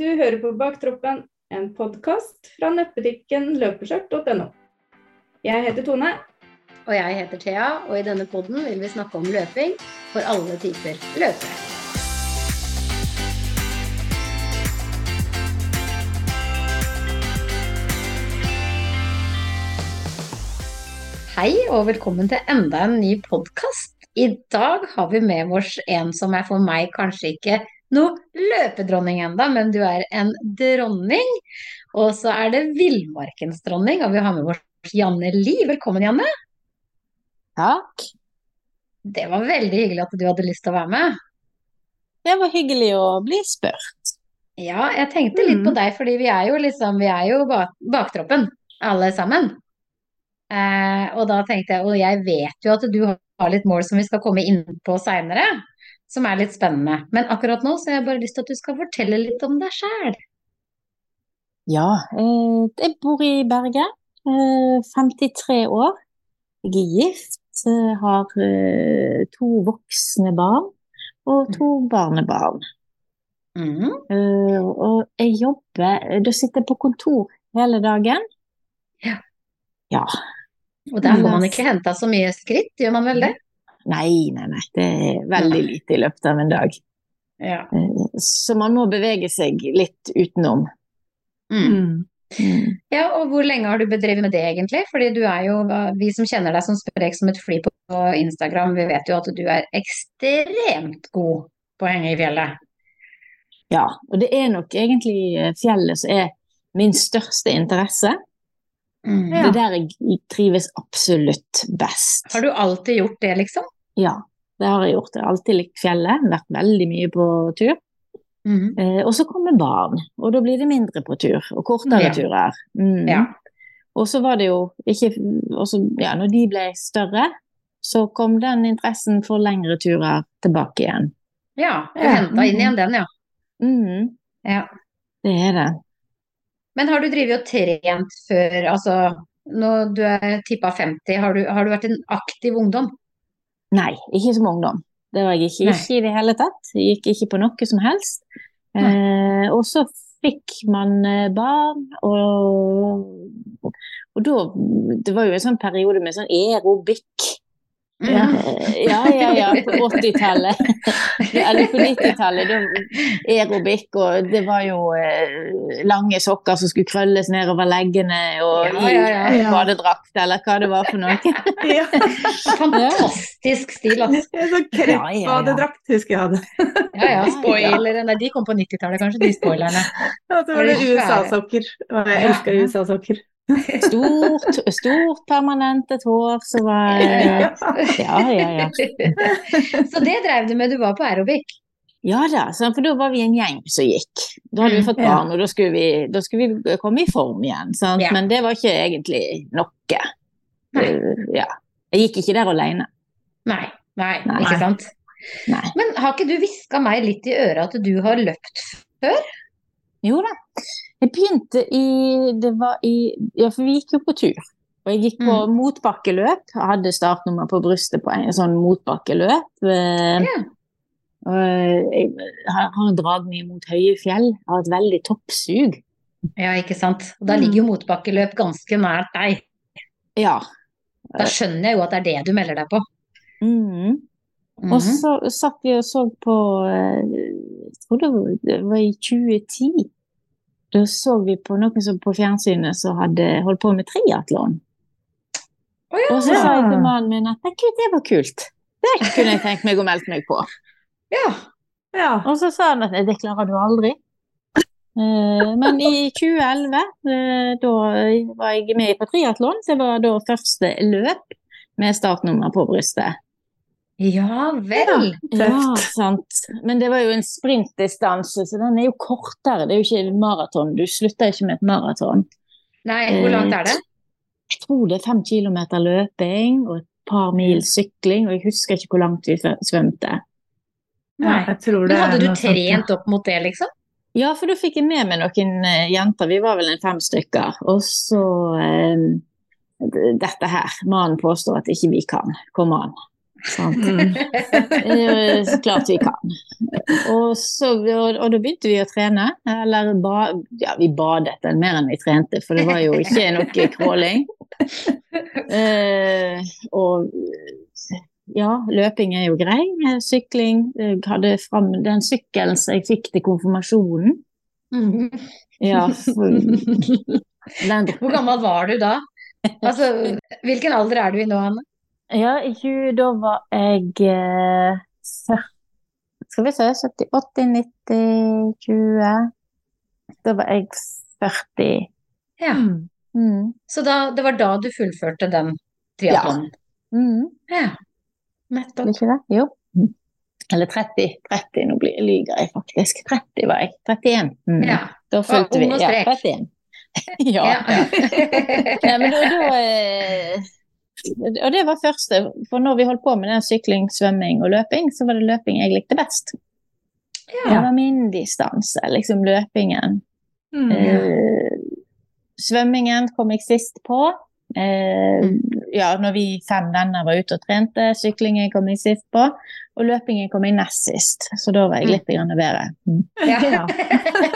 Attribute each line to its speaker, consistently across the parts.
Speaker 1: Du hører på Baktroppen, en podkast fra nettbutikken løpeskjørt.no. Jeg heter Tone.
Speaker 2: Og jeg heter Thea, og i denne podden vil vi snakke om løping for alle typer løpere. Hei og velkommen til enda en ny podkast. I dag har vi med oss en som er for meg kanskje ikke noe løpedronning enda, men du er en dronning. Og så er det villmarkens dronning, og vi har med oss Janne Li. Velkommen, Janne.
Speaker 3: Takk.
Speaker 2: Det var veldig hyggelig at du hadde lyst til å være med.
Speaker 3: Det var hyggelig å bli spurt. Mm.
Speaker 2: Ja, jeg tenkte litt på deg, fordi vi er jo liksom, vi er jo bak baktroppen, alle sammen. Eh, og da tenkte jeg, og jeg vet jo at du har litt mål som vi skal komme inn på seinere, som er litt spennende. Men akkurat nå så har jeg bare lyst til at du skal fortelle litt om deg sjæl.
Speaker 3: Ja, eh, jeg bor i Bergen. Eh, 53 år. Jeg er gift, eh, har eh, to voksne barn og to barnebarn.
Speaker 2: Mm.
Speaker 3: Eh, og jeg jobber eh, Da sitter jeg på kontor hele dagen.
Speaker 2: Ja.
Speaker 3: Ja.
Speaker 2: Og der får man ikke henta så mye skritt, gjør man vel det?
Speaker 3: Nei, nei, nei. Det er veldig lite i løpet av en dag.
Speaker 2: Ja.
Speaker 3: Eh, Så man må bevege seg litt utenom.
Speaker 2: Mm. Ja, og hvor lenge har du bedrevet med det egentlig? Fordi du er jo, vi som kjenner deg som sprek som et fly på på Instagram, vi vet jo at du er ekstremt god på å henge i fjellet.
Speaker 3: Ja, og det er nok egentlig eh, fjellet som er min største interesse.
Speaker 2: Mm.
Speaker 3: Det er der jeg trives absolutt best.
Speaker 2: Har du alltid gjort det, liksom?
Speaker 3: Ja, det har jeg gjort. Jeg har alltid likt fjellet, vært veldig mye på tur.
Speaker 2: Mm.
Speaker 3: Eh, og så kommer barn, og da blir det mindre på tur, og kortere
Speaker 2: Ja.
Speaker 3: turer. Mm.
Speaker 2: Ja.
Speaker 3: Og så var det jo ikke og så- ja, Når de ble større, så kom den interessen for lengre turer tilbake igjen.
Speaker 2: Ja, du
Speaker 1: Ja.
Speaker 2: henta inn igjen den, ja.
Speaker 3: Mm.
Speaker 2: Ja.
Speaker 3: Det er det.
Speaker 2: Men har du drevet og trent før, altså når du er tippa 50, har du, har du vært en aktiv ungdom?
Speaker 3: Nei, ikke som ungdom. Det var jeg ikke,
Speaker 2: Nei.
Speaker 3: ikke i det hele tatt. Jeg gikk ikke på noe som helst. Eh, og så fikk man eh, barn, og, og da Det var jo en sånn periode med sånn aerobikk.
Speaker 2: Mm.
Speaker 3: Ja, ja, ja, ja på 80-tallet. Eller på 90-tallet. da- Aerobikk, og det var jo eh, lange sokker som skulle krølles nedover leggene, og
Speaker 2: Ja, ja,
Speaker 3: i
Speaker 1: ja.
Speaker 3: badedrakt, eller hva det var for noe.
Speaker 1: Ja,
Speaker 2: Fantastisk stil, altså.
Speaker 1: en sånn
Speaker 3: Ja, ja, ja.
Speaker 1: kreppbadedrakt husker jeg hadde.
Speaker 2: Ja ja, spoilere. Nei, de kom på 90-tallet kanskje, de spoilerne.
Speaker 1: Og så var det
Speaker 2: Var det
Speaker 1: USA-sokker. Og jeg
Speaker 3: Ja.
Speaker 1: elska USA-sokker.
Speaker 3: Stort, stort permanentet hår som var
Speaker 2: Ja.
Speaker 3: Ja, ja, ja.
Speaker 2: Så det dreiv du med, du var på aerobic.
Speaker 3: Ja da, sant, for da var vi en gjeng som gikk. Da hadde vi fått
Speaker 1: Mm, ja.
Speaker 3: barn, og da skulle vi, da skulle vi komme i form igjen. Sant?
Speaker 2: Ja.
Speaker 3: Men det var ikke egentlig noe.
Speaker 2: Nei.
Speaker 3: Uh, Ja. Jeg gikk ikke der alene.
Speaker 2: Nei, nei,
Speaker 3: Nei.
Speaker 2: ikke sant.
Speaker 3: Nei.
Speaker 2: Men har ikke du hviska meg litt i øret at du har løpt
Speaker 3: Jo da. Jeg begynte i Det var i Ja, for vi gikk jo på tur. Og jeg gikk på
Speaker 2: Mm.
Speaker 3: motbakkeløp. Jeg Hadde startnummer på brystet på en, sånn motbakkeløp. Eh,
Speaker 2: Ja.
Speaker 3: Og eh, jeg har har en dragning mot høye fjell. Jeg har et veldig toppsug.
Speaker 2: Ja, ikke sant. Og da ligger jo motbakkeløp ganske nært deg.
Speaker 3: Ja.
Speaker 2: Da skjønner jeg jo at det er det du melder deg på.
Speaker 3: Mhm.
Speaker 2: Mhm.
Speaker 3: Og så satt vi og så på eh, Jeg tror det var, det var i 2010. Da så vi på noen som på fjernsynet som hadde holdt på med triatlon.
Speaker 2: Å ja.
Speaker 3: Og så sa jeg til mannen min at «Nei, gud, det var kult. Det kunne jeg tenkt meg å melde meg på.
Speaker 2: ja.
Speaker 1: Ja.
Speaker 3: Og så sa han at «Nei, det klarer du aldri. Eh, Men i 2011, eh, da var jeg med på triatlon, så det var da første løp med startnummer på brystet.
Speaker 2: Ja vel.
Speaker 3: Ja, sant. Men det var jo en sprintdistanse, så den er jo kortere. Det er jo ikke en maraton. Du slutter ikke med et maraton.
Speaker 2: Nei, hvor langt er det?
Speaker 3: Jeg tror det er fem kilometer løping og et par mil sykling, og jeg husker ikke hvor langt vi fø- svømte.
Speaker 2: Nei.
Speaker 1: Jeg tror det
Speaker 2: Men hadde
Speaker 1: er
Speaker 2: du
Speaker 1: noe sånt, ja.
Speaker 2: trent opp mot det, liksom?
Speaker 3: Ja, for da fikk jeg med meg noen eh, jenter. Vi var vel en fem stykker. Og så eh, d- dette her. Mannen påstår at ikke vi kan. Kom an. Sant?
Speaker 1: Mm.
Speaker 3: Eh, Så klart vi kan. Og, så, og, og da begynte vi å trene. Eller ba, ja, vi badet vel mer enn vi trente, for det var jo ikke noe crawling. Eh, og ja, løping er jo grei. Eh, Sykling jeg hadde fram den sykkelen som jeg fikk til konfirmasjonen.
Speaker 2: Mhm.
Speaker 3: Ja, for, den
Speaker 2: Hvor gammel var du da? Altså, hvilken alder er du i nå, Anne?
Speaker 3: Ja, i tjue- da var jeg eh, fyr- Skal vi se 70, 80, 90, 20 Da var jeg 40.
Speaker 2: Ja.
Speaker 3: Mm.
Speaker 2: Så da, det var da du fullførte den triatlonen?
Speaker 3: Mm.
Speaker 2: Ja.
Speaker 3: Var
Speaker 2: Nettopp.
Speaker 3: det ikke det? Jo.
Speaker 2: Mm.
Speaker 3: Eller 30. 30, nå blir- lyger jeg faktisk. 30 var jeg. 31. Mm.
Speaker 2: Ja.
Speaker 3: Da fulgte
Speaker 2: ung
Speaker 3: vi.
Speaker 2: og
Speaker 3: Ja,
Speaker 2: sprek.
Speaker 3: 31. ja.
Speaker 2: Ja.
Speaker 3: Nei, men da, da eh, Og det var første. For når vi holdt på med den sykling, svømming og løping, så var det løping jeg likte best.
Speaker 2: Ja.
Speaker 3: Det var min distanse, liksom løpingen.
Speaker 1: Mm.
Speaker 3: Eh, svømmingen kom jeg sist på. Eh, ja, når vi fem venner var ute og trente. Syklingen kom jeg sist på. Og løpingen kom jeg nest sist, så da var jeg litt grann bedre. Mm.
Speaker 2: Ja.
Speaker 3: Ja.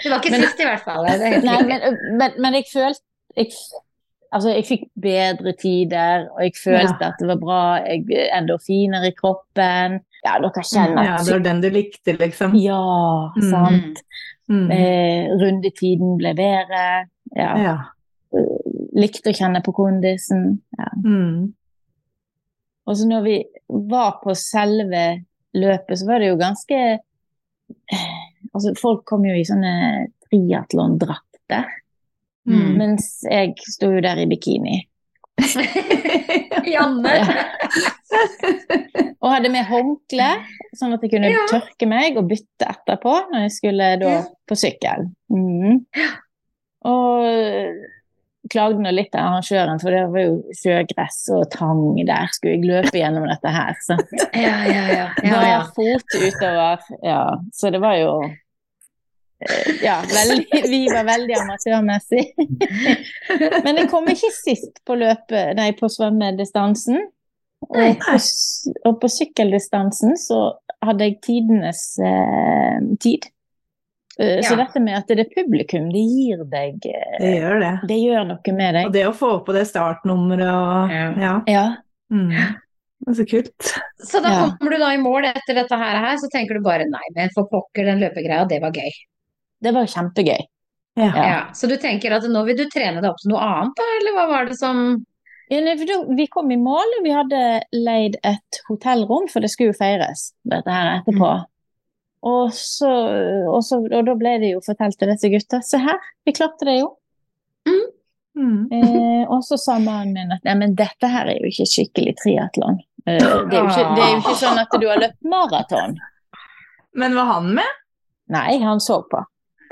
Speaker 2: Det var ikke
Speaker 3: Men-
Speaker 2: sist, i hvert fall. Det er helt
Speaker 3: Nei,
Speaker 2: riktig.
Speaker 3: men, men, men jeg følte jeg, Altså, jeg fikk bedre tider, og jeg følte at det var bra. Jeg, endorfiner i kroppen. Ja, dere kjenner
Speaker 1: Ja, det var den du likte, liksom.
Speaker 3: Ja,
Speaker 1: Mm.
Speaker 3: sant.
Speaker 2: Mm.
Speaker 1: Mm.
Speaker 3: Eh, rundetiden ble bedre. Ja.
Speaker 1: Ja.
Speaker 3: Likte å kjenne på kondisen. Ja.
Speaker 1: Mm.
Speaker 3: Og så når vi var på selve løpet, så var det jo ganske eh, Altså, folk kom jo i sånne triatlondrakter,
Speaker 1: Mm.
Speaker 3: mens jeg sto jo der i bikini.
Speaker 2: Janne!
Speaker 3: Og hadde med håndkle, sånn at jeg kunne
Speaker 2: Ja.
Speaker 3: tørke meg og bytte etterpå når jeg skulle da
Speaker 2: Ja.
Speaker 3: på sykkel. Mhm. Og klagde nå litt til arrangøren, for det var jo sjøgress og tang der. Skulle jeg løpe gjennom dette her? sant?
Speaker 2: Ja, ja, ja. ja, ja.
Speaker 3: Bare fot utover. Ja, så det var jo eh, ja, veldig, vi var veldig amatørmessig. Men jeg kom ikke sist på løpet, nei, på svømmedistansen.
Speaker 2: Nei.
Speaker 3: Og på, s- og på sykkeldistansen så hadde jeg tidenes eh, tid. Eh, Så
Speaker 2: Ja.
Speaker 3: dette med at det er publikum, det gir deg eh,
Speaker 1: Det gjør det.
Speaker 3: Det gjør noe med
Speaker 1: Og
Speaker 3: deg.
Speaker 1: det å få på det startnummeret og Ja.
Speaker 3: Ja.
Speaker 1: Mm. Det er så kult.
Speaker 2: Så da
Speaker 3: Ja.
Speaker 2: kommer du da i mål etter dette her, her, så tenker du bare nei, men for pokker, den løpegreia, det var gøy.
Speaker 3: Det var kjempegøy.
Speaker 1: Ja.
Speaker 2: Ja. Så du tenker at nå vil du trene deg opp til noe annet, da, eller hva var det som
Speaker 3: Ja, nei, for da, vi kom i mål, og vi hadde leid et hotellrom, for det skulle jo feires dette her etterpå. Og, så, og, så, og da ble det jo fortalt til disse gutta Se her, vi klarte det jo.
Speaker 1: Mm.
Speaker 3: Eh, og så sa mannen min at nei, men dette her er jo ikke skikkelig triatlon. Eh, det, er jo ikke- det er jo ikke sånn at du har løpt maraton.
Speaker 1: Men var han med?
Speaker 3: Nei, han så på.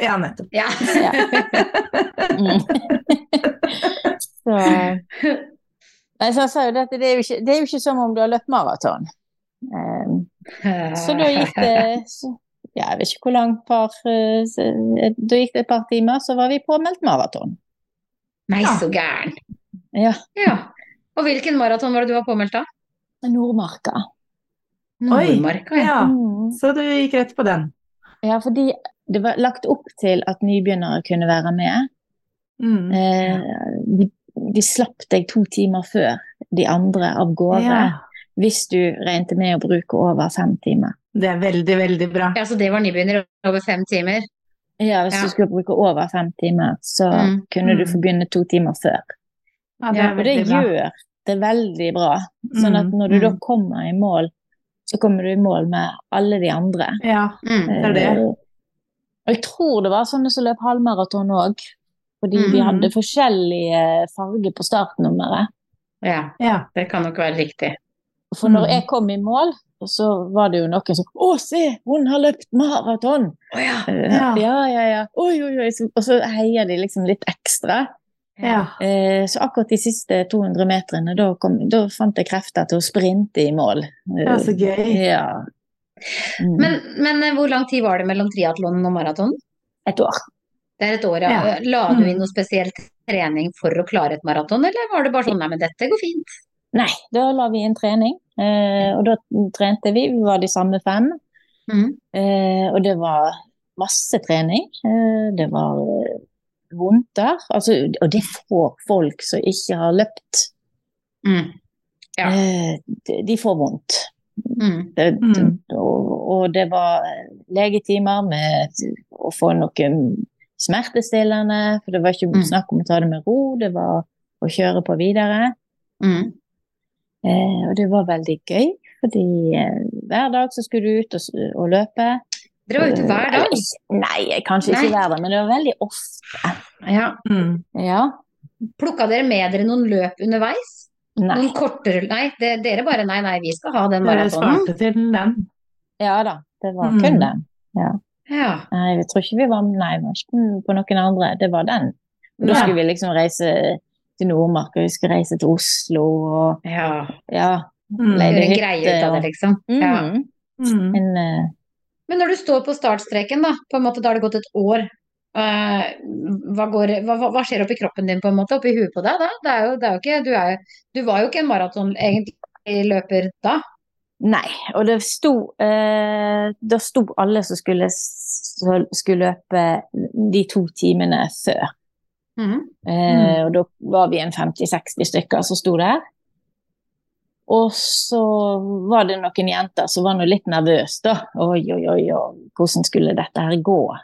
Speaker 1: Ja, nettopp.
Speaker 2: Ja.
Speaker 3: Ja. Mm. så Nei, så han sa jo det at det er jo ikke, det er jo ikke som om du har løpt maraton. Eh, Så da gikk
Speaker 2: eh,
Speaker 3: det så, ja, Jeg vet ikke hvor langt par eh, s- eh, Da gikk det et par timer, så var vi påmeldt maraton.
Speaker 2: Nei, så gæren.
Speaker 3: Ja.
Speaker 2: Ja. Og hvilken maraton var det du var påmeldt av?
Speaker 3: Nordmarka.
Speaker 1: Oi.
Speaker 2: Nordmarka, ja.
Speaker 1: Ja.
Speaker 3: Mm.
Speaker 1: Så du gikk rett på den.
Speaker 3: Ja, fordi det var lagt opp til at nybegynnere kunne være med.
Speaker 1: Mm.
Speaker 3: Eh, de, de slapp deg to timer før de andre av gårde,
Speaker 1: Ja.
Speaker 3: hvis du regnet med å bruke over fem timer.
Speaker 1: Det er veldig, veldig bra.
Speaker 2: Ja, så det var nybegynner over fem timer.
Speaker 3: Ja, hvis
Speaker 2: Ja.
Speaker 3: du skulle bruke over fem timer, så
Speaker 2: Mm.
Speaker 3: kunne du
Speaker 1: Mm.
Speaker 3: få begynne to timer før.
Speaker 1: Ja, det
Speaker 3: Ja,
Speaker 1: er
Speaker 3: og det
Speaker 1: veldig bra.
Speaker 3: gjør det veldig bra. Sånn at
Speaker 1: Mm,
Speaker 3: når du da
Speaker 1: mm.
Speaker 3: kommer i mål, så kommer du i mål med alle de andre.
Speaker 1: Ja.
Speaker 2: Mm.
Speaker 1: er det.
Speaker 3: Eh, Og jeg tror det var sånne som løp halvmaraton òg. Fordi de
Speaker 1: Mm.
Speaker 2: Mhm.
Speaker 3: hadde forskjellige farger på startnummeret.
Speaker 2: Ja,
Speaker 1: ja.
Speaker 2: det kan nok være riktig.
Speaker 3: For når
Speaker 1: Mhm.
Speaker 3: jeg kom i mål, så var det jo noen som Å, se! Hun har løpt maraton!
Speaker 2: Å ja.
Speaker 3: Eh,
Speaker 1: Ja.
Speaker 3: ja, ja. ja. Oi, oi, oi. Så- Og så heier de liksom litt ekstra.
Speaker 1: ja.
Speaker 3: Eh, Så akkurat de siste 200 meterne, da, kom, da fant jeg krefter til å sprinte i mål. Eh,
Speaker 1: Ja, så gøy.
Speaker 3: Ja. Mm.
Speaker 2: Men, men eh, hvor lang tid var det mellom triatlonen og maratonen?
Speaker 3: et år.
Speaker 2: Det er et år, ja. Eh,
Speaker 1: Ja.
Speaker 2: La du
Speaker 1: Mm.
Speaker 2: inn noe spesiell trening for å klare et maraton, eller var det bare sånn nei, men dette går fint?
Speaker 3: Nei, da la vi inn trening. Eh, og da trente vi, vi var de samme fem.
Speaker 2: Mm.
Speaker 3: Eh, og det var masse trening. Eh, det var eh, vondt der. Altså, og det får folk som ikke har løpt.
Speaker 2: Mm. Ja.
Speaker 3: Eh, de, de får vondt.
Speaker 2: Mm.
Speaker 3: Det,
Speaker 1: Mm.
Speaker 3: og, og det var eh, legetimer med å få noe smertestillende, for det var ikke
Speaker 2: Mm.
Speaker 3: snakk om å ta det med ro, det var å kjøre på videre.
Speaker 2: Mm.
Speaker 3: Eh, og det var veldig gøy, fordi eh, hver dag så skulle du ut og, s- og løpe.
Speaker 2: Dere var ute hver
Speaker 3: Eller
Speaker 2: dag?
Speaker 3: ikke- Nei, kanskje
Speaker 2: Nei.
Speaker 3: ikke hver dag, men det var veldig ofte.
Speaker 2: Ja.
Speaker 1: Mm.
Speaker 3: Ja.
Speaker 2: Plukka dere med dere noen løp underveis?
Speaker 3: Nei.
Speaker 2: Noen kortere Nei, det, dere bare nei, nei, vi skal ha den
Speaker 1: Dere
Speaker 2: maratonen.
Speaker 1: sparte til den.
Speaker 3: Ja da, det var
Speaker 1: Mm.
Speaker 3: kun den.
Speaker 2: Ja.
Speaker 3: Nei, jeg tror ikke vi var Nei, vi var ikke på noen andre. Det var den. Og da
Speaker 1: Nei.
Speaker 3: skulle vi liksom reise til Nordmark, og vi skulle reise til Oslo og
Speaker 2: ja.
Speaker 3: ja.
Speaker 1: Mm.
Speaker 3: Nei.
Speaker 2: Gjøre en
Speaker 3: hytte
Speaker 2: greie ut av det,
Speaker 3: og-
Speaker 2: liksom.
Speaker 3: Mm.
Speaker 2: Ja.
Speaker 1: Mm.
Speaker 3: Men eh,
Speaker 2: Men når du står på startstreken, da, på en måte, da har det gått et år. eh, hva, går, hva, hva- hva skjer oppi kroppen din, på en måte? Oppi huet på deg da? Det er jo, det er jo ikke, du, er, jo- du var jo ikke en maraton egentlig løper da.
Speaker 3: Nei. Og det sto eh, Da sto alle som skulle, s- som skulle løpe de to timene før.
Speaker 2: Mm-hmm. Mm.
Speaker 3: Eh, og da var vi en 50-60 stykker som sto der. Og så var det noen jenter som var nå litt nervøse, da. Oi, oi, oi, oi, hvordan skulle dette her gå?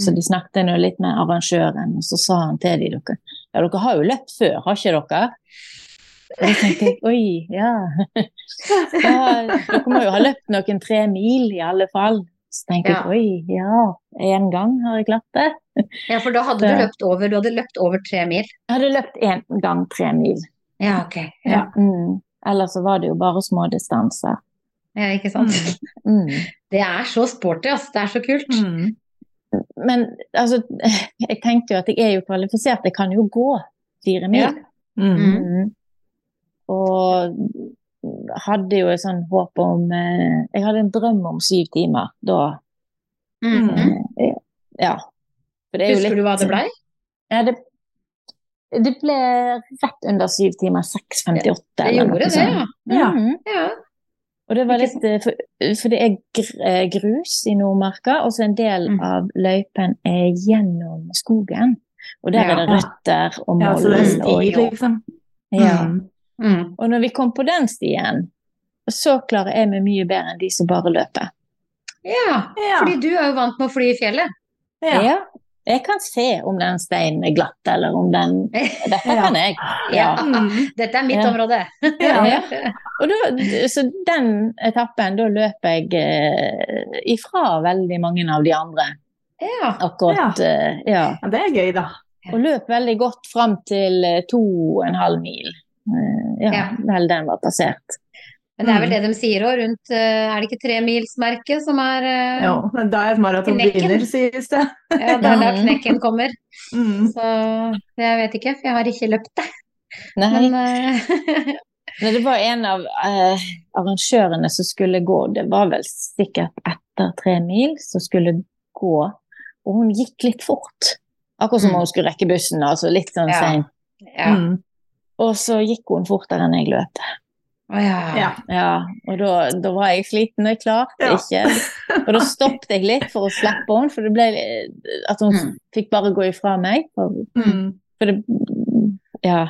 Speaker 3: Så
Speaker 2: Mm.
Speaker 3: de snakket nå litt med arrangøren, og så sa han til dem dere, ja, dere har jo løpt før, har ikke dere? Og da tenkte jeg, oi, ja. ja. Dere må jo ha løpt noen tre mil i alle fall. Så tenkte
Speaker 2: Ja.
Speaker 3: jeg, oi, ja, én gang har jeg klart det.
Speaker 2: Ja, for da hadde du
Speaker 3: Det-
Speaker 2: løpt over, du hadde løpt over tre mil.
Speaker 3: Jeg hadde løpt én gang tre mil.
Speaker 2: Ja, ok. Ja,
Speaker 1: Ja.
Speaker 3: Mm. Ellers så var det jo bare små distanser.
Speaker 2: ja ikke sant.
Speaker 3: Mm.
Speaker 2: Det er så sporty, ass. Det er så kult.
Speaker 1: Mm.
Speaker 3: Men altså, jeg tenkte jo at jeg er jo kvalifisert, jeg kan jo gå fire mil.
Speaker 2: Ja.
Speaker 1: Mm.
Speaker 2: Mm-hmm.
Speaker 3: Mm. Og hadde jo et sånn håp om eh, Jeg hadde en drøm om syv timer da.
Speaker 2: Mm.
Speaker 1: Mm.
Speaker 3: Ja. For det er jo
Speaker 2: Husker
Speaker 3: litt-
Speaker 2: du hva det blei?
Speaker 3: Ja, det, det ble rett under syv timer. 6.58.
Speaker 2: Det
Speaker 3: eller noe
Speaker 2: gjorde det,
Speaker 3: sånt.
Speaker 2: ja.
Speaker 1: Ja.
Speaker 3: Mhm.
Speaker 2: ja.
Speaker 3: Og det var
Speaker 2: Ikke
Speaker 3: litt, eh, for, for det er gr- eh, grus i Nordmarka, og så en del
Speaker 2: Mm.
Speaker 3: av løypen er gjennom skogen. Og der
Speaker 2: Ja.
Speaker 3: er det røtter og
Speaker 1: ja, så
Speaker 3: moll.
Speaker 1: det er
Speaker 2: Mm.
Speaker 3: og
Speaker 1: sti,
Speaker 3: jord.
Speaker 1: liksom.
Speaker 3: ja.
Speaker 1: Mm.
Speaker 2: Mm.
Speaker 3: Og når vi kom på den stien, så klarer jeg meg mye bedre enn de som bare løper.
Speaker 2: ja.
Speaker 1: Ja.
Speaker 2: Fordi du er jo vant med å fly i fjellet.
Speaker 1: Ja.
Speaker 3: Ja. Jeg kan se om den steinen er glatt, eller om den Dette
Speaker 1: Ja.
Speaker 3: kan jeg. Ja.
Speaker 1: Mm.
Speaker 2: Dette er mitt
Speaker 3: Ja.
Speaker 2: område.
Speaker 1: Ja.
Speaker 3: Ja. Og da, så den etappen, da løper jeg eh, ifra veldig mange av de andre.
Speaker 2: Ja.
Speaker 3: Akkurat, eh, ja.
Speaker 1: Ja, Det er gøy, da.
Speaker 3: Og løp veldig godt fram til eh, to og en halv mil. Eh, Ja,
Speaker 2: Ja.
Speaker 3: vel den var passert.
Speaker 2: Men det er vel det de sier òg, rundt eh, Er det ikke tremilsmerket som er eh,
Speaker 1: Jo, det er da et maraton
Speaker 2: Knekken.
Speaker 1: begynner, sies det.
Speaker 2: Ja, det er da
Speaker 3: Mm.
Speaker 2: knekken kommer.
Speaker 1: Mm.
Speaker 2: Så jeg vet ikke, for jeg har ikke løpt det.
Speaker 3: Nei,
Speaker 2: Men eh,
Speaker 3: nei, det var en av eh, arrangørene som skulle gå, det var vel sikkert etter tre mil, som skulle gå. Og hun gikk litt fort. Akkurat som
Speaker 2: Mm.
Speaker 3: om hun skulle rekke bussen, altså litt sånn
Speaker 2: Ja.
Speaker 3: seint.
Speaker 2: ja.
Speaker 1: Mm.
Speaker 3: Og så gikk hun fortere enn jeg løp.
Speaker 2: Å ja.
Speaker 1: Ja.
Speaker 3: Ja, og da, da var jeg sliten, og jeg klarte
Speaker 1: Ja.
Speaker 3: ikke. Og da stoppet jeg litt for å slippe henne, for det ble eh, at hun
Speaker 2: Mm.
Speaker 3: fikk bare gå ifra meg. For,
Speaker 1: Mm.
Speaker 3: for det Ja.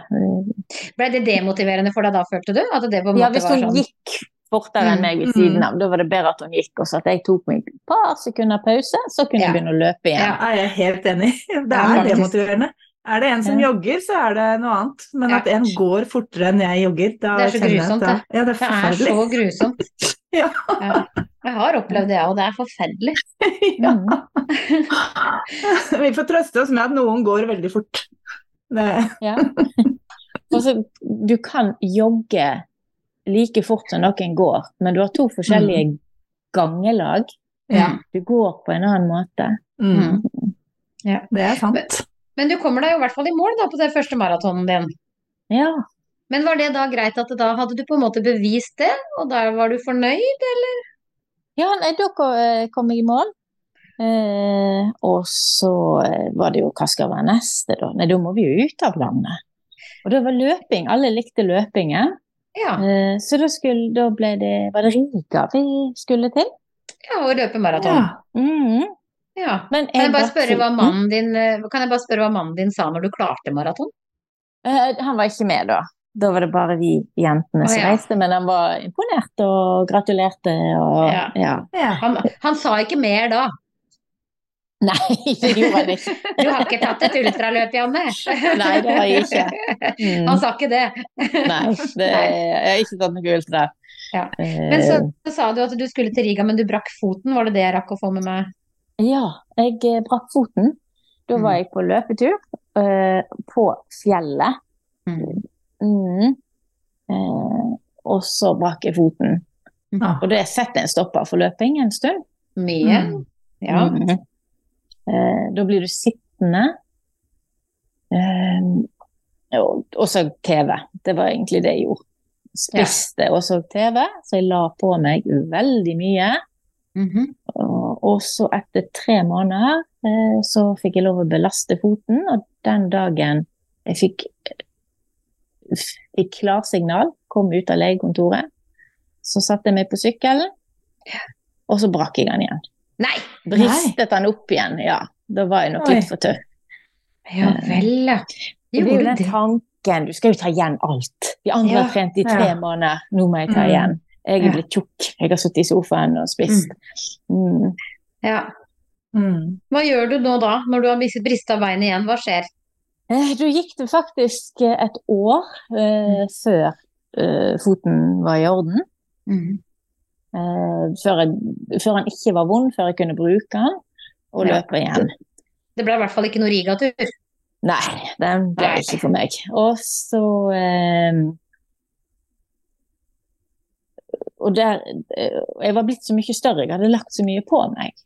Speaker 2: Ble det demotiverende for deg da, følte du? At det på en
Speaker 3: ja,
Speaker 2: måte
Speaker 3: hvis
Speaker 2: var
Speaker 3: hun
Speaker 2: sånn
Speaker 3: gikk fortere enn meg ved siden av, da var det bedre at hun gikk, og så at jeg tok meg et par sekunder pause, så kunne
Speaker 2: Ja.
Speaker 3: jeg begynne å løpe
Speaker 2: Ja.
Speaker 3: igjen.
Speaker 1: Ja, jeg er helt enig. Det
Speaker 2: Ja,
Speaker 1: er
Speaker 2: faktisk.
Speaker 1: demotiverende. Er det en som jogger, så er det noe annet. Men
Speaker 2: Ja.
Speaker 1: at en går fortere enn jeg jogger, da
Speaker 2: Det er så
Speaker 1: kjenner jeg at
Speaker 2: grusomt,
Speaker 1: det- Ja, det er
Speaker 2: Det er
Speaker 1: forferdelig.
Speaker 2: så grusomt.
Speaker 1: Ja.
Speaker 2: Ja. Jeg har opplevd det, og det er forferdelig.
Speaker 1: Ja.
Speaker 3: Mm.
Speaker 1: Vi får trøste oss med at noen går veldig fort. Det,
Speaker 3: Mm, Ja. Altså, du kan jogge like fort som noen går, men du har to forskjellige gangelag.
Speaker 1: ja.
Speaker 3: Du går på en annen måte.
Speaker 1: Mm.
Speaker 2: Ja.
Speaker 1: Det er sant.
Speaker 2: Men du kommer deg jo i hvert fall i mål da på den første maratonen din.
Speaker 3: Ja.
Speaker 2: Men var det da greit at da hadde du på en måte bevist det, og da var du fornøyd?
Speaker 3: Ja, nei, da ko- eh, kom jeg i mål. Eh, og så eh, var det jo hva skal være neste, da? Nei, da må vi jo ut av landet. Og det var løping. Alle likte løpingen.
Speaker 2: Ja,
Speaker 3: Eh, Så da, skulle, da ble det, var det Riga vi skulle til.
Speaker 2: ja og løpe maraton.
Speaker 3: Mhm.
Speaker 2: Ja.
Speaker 3: Men
Speaker 2: Kan jeg bare
Speaker 3: var
Speaker 2: spørre hva
Speaker 3: sulten.
Speaker 2: mannen din, eh, kan jeg bare spørre hva mannen din sa når du klarte maraton?
Speaker 3: Eh, Han var ikke med da. Da var det bare vi jentene
Speaker 2: Å,
Speaker 3: som
Speaker 2: ja.
Speaker 3: reiste, men han var imponert og gratulerte og
Speaker 2: Ja.
Speaker 3: ja.
Speaker 1: Ja.
Speaker 2: Han, han sa ikke mer da.
Speaker 3: Nei, det gjorde han ikke.
Speaker 2: Du har ikke tatt et ultraløp, Janne?
Speaker 3: Nei, det har jeg ikke. Mm.
Speaker 2: Han sa ikke det.
Speaker 3: Nei, det,
Speaker 2: Nei.
Speaker 3: jeg har ikke tatt noe gult der.
Speaker 2: Ja.
Speaker 3: Eh,
Speaker 2: Men så, så sa du at du skulle til Riga, men du brakk foten. Var det det jeg rakk å få med meg?
Speaker 3: Ja, jeg eh, brakk foten. Da
Speaker 2: Mm.
Speaker 3: var jeg på løpetur eh, på fjellet. Mm. Eh, og så brakk jeg foten.
Speaker 2: Mm.
Speaker 1: Ja.
Speaker 3: Og det setter en stopper for løping en stund.
Speaker 2: Mye?
Speaker 1: Mm.
Speaker 2: Ja.
Speaker 3: Mhm. Eh, da blir du sittende. Eh, og, og så TV. Det var egentlig det jeg gjorde. Spiste og så TV, så jeg la på meg veldig mye. Mm-hmm.
Speaker 2: Mhm.
Speaker 3: Og, og så etter tre måneder eh, så fikk jeg lov å belaste foten, og den dagen jeg fikk, fikk klarsignal, kom ut av legekontoret, så satte jeg meg på sykkelen, og så brakk jeg den igjen.
Speaker 2: Nei!
Speaker 3: Bristet den opp igjen, ja. Da var jeg nok
Speaker 1: Oi.
Speaker 3: litt for tøff.
Speaker 2: Ja vel, ja.
Speaker 3: Det blir jo
Speaker 2: Gjorde
Speaker 3: den
Speaker 2: det?
Speaker 3: tanken, du skal jo ta igjen alt. De andre
Speaker 2: Ja.
Speaker 3: har trent i tre
Speaker 1: Ja.
Speaker 3: måneder, nå må jeg ta
Speaker 1: Mm.
Speaker 3: igjen. Jeg
Speaker 2: Ja.
Speaker 3: er blitt tjukk, jeg har sittet i sofaen og spist. Mm.
Speaker 2: Ja.
Speaker 1: Mm.
Speaker 2: Hva gjør du nå da, når du har mis- brista beinet igjen? Hva skjer?
Speaker 3: Eh, Da gikk det faktisk eh, et år eh,
Speaker 2: Mm.
Speaker 3: før eh, foten var i orden. Mm. Eh, før, jeg, før han ikke var vond, før jeg kunne bruke han og
Speaker 2: Ja.
Speaker 3: løpe igjen.
Speaker 2: Det ble i hvert fall ikke noe Riga-tur.
Speaker 3: Nei, den ble
Speaker 2: Nei.
Speaker 3: ikke for meg. Og så eh, Og der eh, Jeg var blitt så mye større, jeg hadde lagt så mye på meg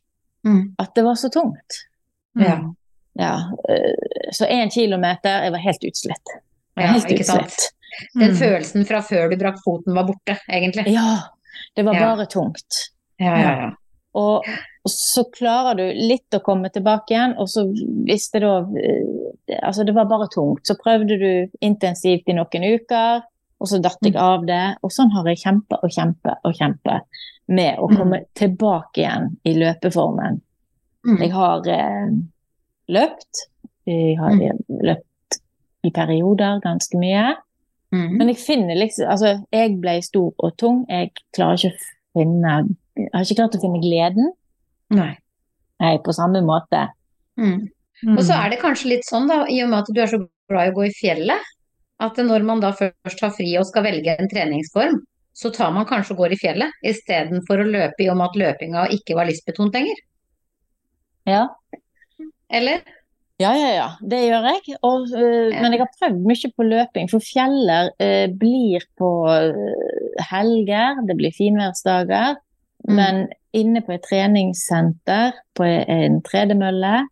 Speaker 3: at det var så tungt.
Speaker 2: Ja.
Speaker 1: Mm.
Speaker 3: Ja, eh, så én kilometer, jeg var helt utslitt. Jeg var
Speaker 2: Ja,
Speaker 3: helt
Speaker 2: ikke sant?
Speaker 3: utslitt.
Speaker 2: Den
Speaker 1: Mm.
Speaker 2: følelsen fra før du brakk foten var borte, egentlig.
Speaker 3: Ja, det var
Speaker 2: Ja.
Speaker 3: bare tungt.
Speaker 2: Ja, ja, ja.
Speaker 3: Og og så klarer du litt å komme tilbake igjen, og så hvis det da eh, det- Altså, det var bare tungt. Så prøvde du intensivt i noen uker, og så datt jeg av det. Og sånn har jeg kjempa og kjempa og kjempa med å
Speaker 1: Mm.
Speaker 3: komme tilbake igjen i løpeformen.
Speaker 2: Mm.
Speaker 3: Jeg har eh, løpt. Jeg har løpt i perioder ganske mye.
Speaker 2: Mm.
Speaker 3: Men jeg finner liksom Altså, jeg ble stor og tung. Jeg klarer ikke å finne Jeg har ikke klart å finne gleden.
Speaker 2: Nei.
Speaker 3: Nei, på samme måte.
Speaker 1: Mm.
Speaker 2: Og så er det kanskje litt sånn, da, i og med at du er så glad i å gå i fjellet, at når man da først har fri og skal velge en treningsform, så tar man kanskje og går i fjellet, istedenfor å løpe i og med at løpinga ikke var lystbetont lenger.
Speaker 3: Ja,
Speaker 2: Eller?
Speaker 3: ja, ja. ja. Det gjør jeg. Og, øh,
Speaker 2: Ja.
Speaker 3: Men jeg har prøvd mye på løping, for fjeller øh, blir på øh, helger, det blir finværsdager.
Speaker 2: Mm.
Speaker 3: Men inne på et treningssenter, på en tredemølle,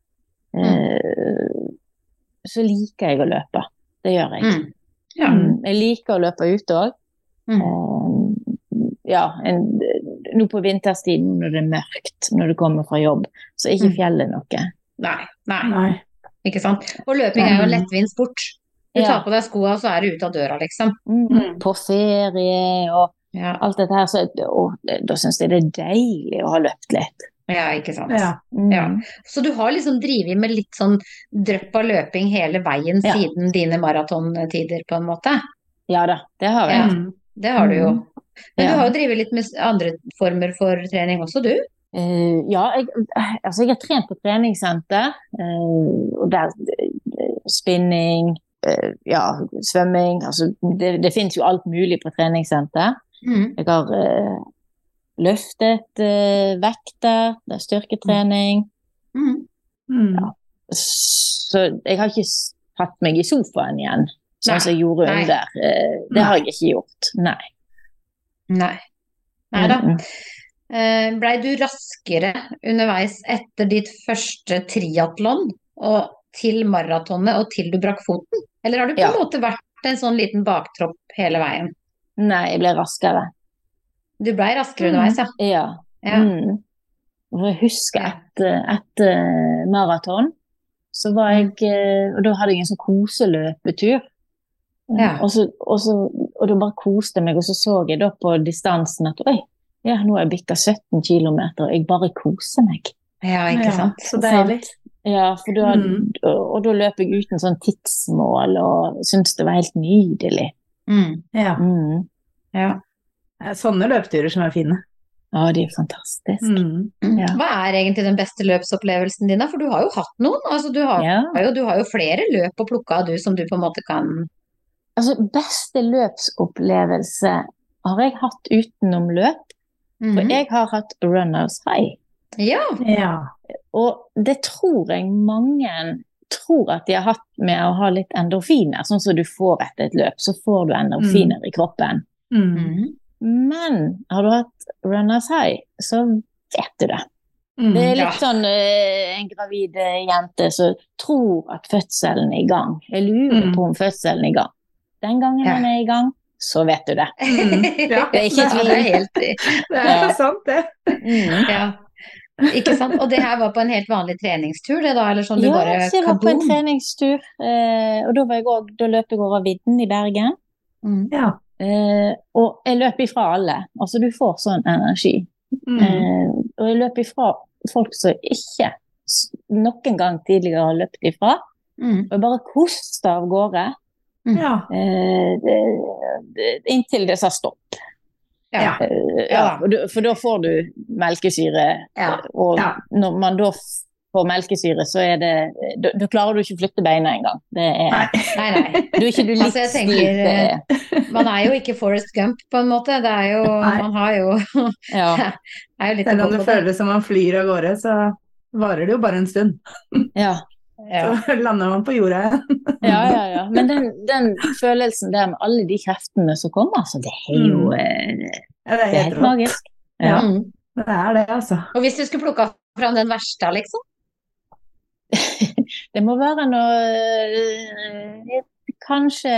Speaker 3: øh, så liker jeg å løpe. Det gjør jeg.
Speaker 2: Mm. Ja.
Speaker 3: Mm. Jeg liker å løpe ute òg.
Speaker 2: Mm.
Speaker 3: Ja, en, nå på vinterstid, nå når det er mørkt, når du kommer fra jobb, så er ikke
Speaker 2: Mm.
Speaker 3: fjellet noe.
Speaker 2: Nei. Nei.
Speaker 1: Nei.
Speaker 2: Ikke sant? Og løping er jo en lettvint sport. Du
Speaker 3: Ja.
Speaker 2: tar på deg skoa, så er du ute av døra, liksom.
Speaker 1: Mm.
Speaker 3: På ferie og
Speaker 2: Ja,
Speaker 3: alt dette her, så og, da syns jeg det er deilig å ha løpt litt. Mm.
Speaker 2: ja ikke sant.
Speaker 1: Ja.
Speaker 2: Ja. Så du har liksom drevet med litt sånn drypp av løping hele veien
Speaker 3: Ja.
Speaker 2: siden dine maratontider, på en måte.
Speaker 3: Ja da, det har jeg.
Speaker 1: Mm.
Speaker 2: Det har du jo.
Speaker 3: Mm.
Speaker 2: Men
Speaker 3: Ja.
Speaker 2: du har jo drevet litt med s- andre former for trening også, du.
Speaker 3: Eh, ja, jeg, eh, altså jeg har trent på treningssenter, eh, og der eh, spinning, eh, ja, svømming, altså det, det finnes jo alt mulig på treningssenter. Jeg har eh, løftet eh, vekter, det er styrketrening.
Speaker 2: Mm.
Speaker 1: Mm.
Speaker 3: Ja. Så jeg har ikke s- tatt meg i sofaen
Speaker 2: Nei,
Speaker 3: igjen, sånn som jeg gjorde
Speaker 2: nei.
Speaker 3: under. Eh, det har jeg ikke gjort, nei.
Speaker 2: Nei. Nei da.
Speaker 3: Mm, mm.
Speaker 2: Eh, Blei du raskere underveis etter ditt første triatlon og til maratonet og til du brakk foten? Eller har du på en
Speaker 3: Ja.
Speaker 2: måte vært en sånn liten baktropp hele veien?
Speaker 3: Nei, jeg ble raskere.
Speaker 2: Du blei raskere underveis, ja.
Speaker 3: Ja.
Speaker 2: Ja.
Speaker 3: Mm. Og Jeg husker
Speaker 2: Ja.
Speaker 3: etter et, eh, maraton, så
Speaker 2: Mm.
Speaker 3: var jeg eh, Og da hadde jeg en sånn koseløpetur.
Speaker 2: Ja.
Speaker 3: Og, så, og så Og da bare koste jeg meg, og så så jeg da på distansen at oi, ja, nå har jeg bikka 17 km, og jeg bare koser meg.
Speaker 2: Ja, ikke sant.
Speaker 1: Så deilig.
Speaker 3: Ja, for da,
Speaker 1: Mm.
Speaker 3: og, og da løp jeg uten sånn tidsmål, og syntes det var helt nydelig.
Speaker 2: Mm.
Speaker 1: Ja.
Speaker 3: Mm.
Speaker 2: Ja.
Speaker 1: Det er Sånne løpeturer som er fine.
Speaker 3: Ja, det er fantastisk.
Speaker 1: Mm.
Speaker 3: Ja.
Speaker 2: Hva er egentlig den beste løpsopplevelsen din, da? For du har jo hatt noen. Altså, du, har,
Speaker 3: Ja.
Speaker 2: jo, du har jo flere løp å plukke av, du, som du på en måte kan
Speaker 3: Altså, beste løpsopplevelse har jeg hatt utenom løp. For
Speaker 1: Mm.
Speaker 2: Mhm.
Speaker 3: jeg har hatt runners high.
Speaker 2: Ja.
Speaker 1: Ja.
Speaker 3: Og det tror jeg mange tror at de har hatt med å ha litt endorfiner. Sånn som du får etter et løp, så får du endorfiner i kroppen.
Speaker 1: Mm.
Speaker 2: Mhm.
Speaker 3: Men har du hatt runners high, så vet du det.
Speaker 1: Mm.
Speaker 3: Det er
Speaker 2: Ja.
Speaker 3: litt sånn eh, en gravid eh, jente som tror at fødselen er i gang. Jeg lurer
Speaker 1: Mm.
Speaker 3: på om fødselen er i gang. Den gangen
Speaker 2: Ja.
Speaker 3: den er i gang, så vet du det.
Speaker 1: Mm. Ja.
Speaker 2: Det er ikke
Speaker 1: Ja,
Speaker 2: tvil. Det er helt Mm.
Speaker 1: Det er sant, det.
Speaker 3: Mm.
Speaker 2: Ja. Ikke sant. Og det her var på en helt vanlig treningstur, det da? Eller sånn du
Speaker 3: ja,
Speaker 2: bare
Speaker 3: så jeg var på en
Speaker 2: kaboom?
Speaker 3: treningstur, eh, og da, var jeg også, da løp jeg over vidden i Bergen.
Speaker 2: Mm.
Speaker 1: Ja.
Speaker 3: Eh, og jeg løp ifra alle. Altså, du får sånn energi.
Speaker 1: Mm.
Speaker 3: Eh, og jeg løp ifra folk som ikke s- noen gang tidligere har løpt ifra.
Speaker 2: Mm.
Speaker 3: Og jeg bare koste av gårde
Speaker 1: ja.
Speaker 3: eh, det- det- inntil det sa stopp.
Speaker 2: Ja.
Speaker 1: Ja.
Speaker 3: Eh,
Speaker 2: Ja.
Speaker 3: ja, og du- for da får du melkesyre.
Speaker 2: Ja.
Speaker 3: Og
Speaker 1: Ja.
Speaker 3: når man da f- får melkesyre, så er det Da, da klarer du ikke å flytte beina engang. Det er
Speaker 1: Nei.
Speaker 2: Nei, nei.
Speaker 3: Du er ikke du litt
Speaker 2: Altså, jeg tenker,
Speaker 3: stiv, det er.
Speaker 1: eh,
Speaker 2: Man er jo ikke Forrest Gump, på en måte. Det er jo
Speaker 1: Nei.
Speaker 2: Man har jo
Speaker 3: Ja.
Speaker 2: er jo litt å
Speaker 1: Selv
Speaker 2: gå
Speaker 1: om det
Speaker 2: på der.
Speaker 1: føles som man flyr av gårde, så varer det jo bare en stund.
Speaker 3: Ja.
Speaker 2: Ja.
Speaker 1: Så lander man på jorda igjen.
Speaker 3: ja, ja, ja. Men den, den følelsen der med alle de kreftene som kommer, altså, det er jo
Speaker 1: Mm.
Speaker 3: eh,
Speaker 1: Ja, det
Speaker 3: det er
Speaker 1: er helt
Speaker 3: helt
Speaker 1: rått.
Speaker 3: magisk.
Speaker 1: Ja.
Speaker 2: Mm.
Speaker 1: Det er det, altså.
Speaker 2: Og hvis du skulle plukka fram den verste, liksom?
Speaker 3: Det må være noe eh, Kanskje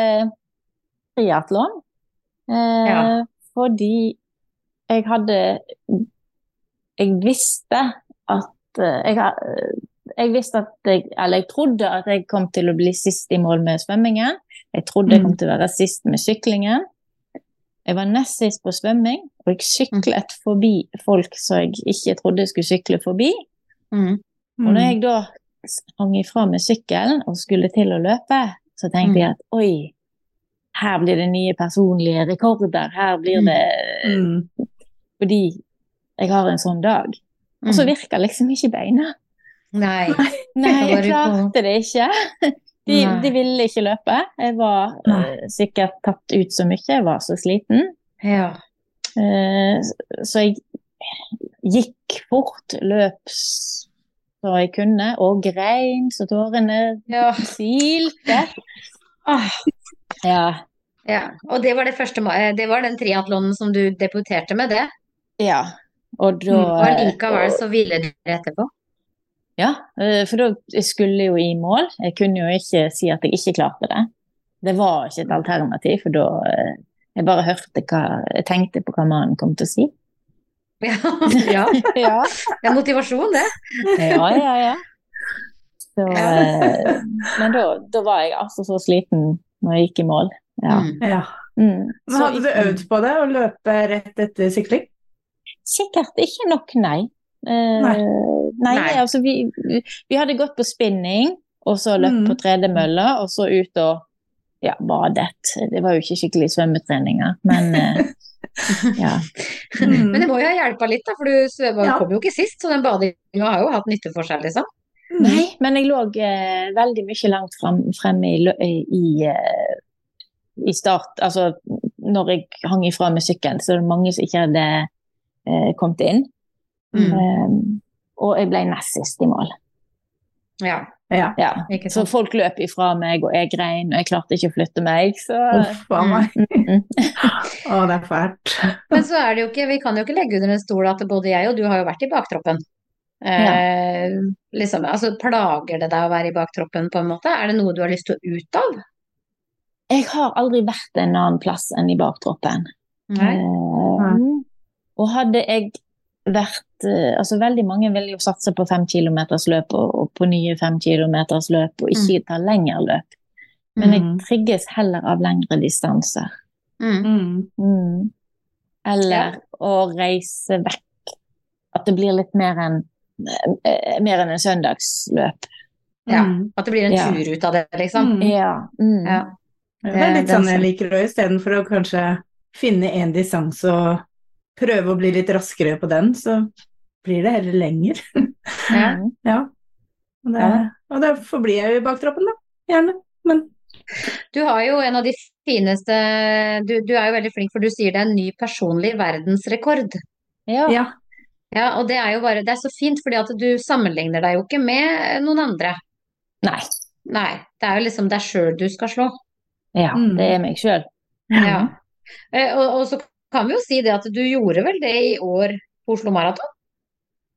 Speaker 3: triatlon. Eh,
Speaker 2: Ja.
Speaker 3: Fordi jeg hadde Jeg visste at eh, jeg, ha- jeg visste at jeg, eller jeg trodde at jeg kom til å bli sist i mål med svømmingen. Jeg trodde jeg kom til å være sist med syklingen. Jeg var nest sist på svømming, og jeg syklet forbi folk som jeg ikke trodde skulle sykle forbi.
Speaker 2: Mm.
Speaker 1: Mm.
Speaker 3: Og når jeg da sprang ifra med sykkelen og skulle til å løpe, så tenkte
Speaker 2: Mm.
Speaker 3: jeg at oi, her blir det nye personlige rekorder. Her blir
Speaker 2: Mm.
Speaker 3: det
Speaker 1: mm.
Speaker 3: fordi jeg har en sånn dag. Og så virker liksom ikke beina.
Speaker 2: Mm. Nei.
Speaker 3: Nei,
Speaker 2: Da var du
Speaker 3: jeg
Speaker 2: på-
Speaker 3: klarte det ikke. De,
Speaker 2: Nei.
Speaker 3: de ville ikke løpe. Jeg var
Speaker 1: Nei.
Speaker 3: eh, sikkert tatt ut så mye, jeg var så sliten.
Speaker 2: Ja.
Speaker 3: Eh, Så jeg gikk fort, løp s- så jeg kunne, og grein så tårene
Speaker 2: Ja.
Speaker 3: silte.
Speaker 2: Ah,
Speaker 3: Ja.
Speaker 2: ja. Og det var det første mai, det var den triatlonen som du debuterte med, det.
Speaker 3: ja. Og da
Speaker 1: Mm,
Speaker 2: Og allikevel så ville dere etterpå.
Speaker 3: Ja, eh, for da jeg skulle jo i mål. Jeg kunne jo ikke si at jeg ikke klarte det. Det var ikke et alternativ, for da eh, Jeg bare hørte hva Jeg tenkte på hva mannen kom til å si.
Speaker 2: Ja. ja.
Speaker 3: Ja,
Speaker 2: Det er motivasjon, det.
Speaker 3: ja, ja. ja. Så
Speaker 2: Ja.
Speaker 3: eh, Men da, da var jeg altså så sliten når jeg gikk i mål. Ja.
Speaker 2: Mm.
Speaker 1: ja.
Speaker 3: Mm.
Speaker 1: Men
Speaker 3: Så
Speaker 1: hadde du
Speaker 3: ikke-
Speaker 1: øvd på det, å løpe rett etter sykling?
Speaker 3: Sikkert ikke nok, nei. Eh,
Speaker 1: Nei.
Speaker 3: nei,
Speaker 2: Nei.
Speaker 3: altså vi, vi hadde gått på spinning, og så løpt
Speaker 1: Mm.
Speaker 3: på tredemølla, og så ut og ja, badet. Det var jo ikke skikkelig svømmetreninger, men eh, ja.
Speaker 1: Mm.
Speaker 2: Men det må jo ha hjelpa litt, da, for du svømmer,
Speaker 1: Ja.
Speaker 2: kom jo ikke sist, så den badinga har jo hatt nytte for seg, liksom.
Speaker 1: Mm.
Speaker 3: Nei, men jeg lå eh, veldig mye langt frem, fremme i, lø- i, eh, i start, altså når jeg hang ifra med sykkelen, så var det mange som ikke hadde eh, kommet inn.
Speaker 1: Mm.
Speaker 3: Eh, og jeg ble nest sist i mål.
Speaker 2: Ja,
Speaker 1: Ja.
Speaker 3: Ja.
Speaker 2: ikke
Speaker 3: Så
Speaker 2: sant.
Speaker 3: folk løp ifra meg, og jeg grein, og jeg klarte ikke å flytte meg. Så
Speaker 1: Uff a meg.
Speaker 3: Mm.
Speaker 1: Å, det er fælt.
Speaker 2: Men så er det jo ikke, vi kan jo ikke legge under en stol at både jeg og du har jo vært i baktroppen. Eh, liksom, altså, plager det deg å være i baktroppen, på en måte? Er det noe du har lyst til å ut av?
Speaker 3: jeg har aldri vært en annen plass enn i baktroppen.
Speaker 2: Mm.
Speaker 3: Eh,
Speaker 1: Nei.
Speaker 3: og hadde jeg vært eh, Altså, veldig mange vil jo satse på fem kilometers løp og, og på nye fem kilometers løp, og ikke ta lengre løp. Men jeg
Speaker 1: Mm.
Speaker 3: trigges heller av lengre distanser.
Speaker 2: Mm.
Speaker 1: Mm.
Speaker 3: Mm. Eller å reise vekk. At det blir litt mer enn eh, mer enn en søndagsløp.
Speaker 2: Ja.
Speaker 1: Mm.
Speaker 2: At det blir en
Speaker 3: Ja.
Speaker 2: tur ut av det, liksom.
Speaker 1: Mm.
Speaker 3: Ja. Mm.
Speaker 2: Ja.
Speaker 1: Det er litt
Speaker 2: Det-
Speaker 1: sånn
Speaker 2: det-
Speaker 1: jeg liker òg, istedenfor å kanskje finne en distanse og prøve å bli litt raskere på den, så blir det heller lenger.
Speaker 2: Ja.
Speaker 3: Mm.
Speaker 1: Ja. Og det,
Speaker 3: Ja.
Speaker 1: og da forblir jeg jo i baktroppen, da. Gjerne. Men
Speaker 2: Du har jo en av de fineste du, du er jo veldig flink, for du sier det er en ny personlig verdensrekord.
Speaker 3: Ja.
Speaker 1: ja.
Speaker 2: Ja, og det er jo bare Det er så fint, fordi at du sammenligner deg jo ikke med noen andre.
Speaker 3: Nei.
Speaker 2: Nei. Det er jo liksom deg sjøl du skal slå.
Speaker 3: Ja,
Speaker 1: Mm.
Speaker 3: det er meg sjøl.
Speaker 2: Ja. Eh, Og, og så kan vi jo si det at du gjorde vel det i år på Oslo Maraton?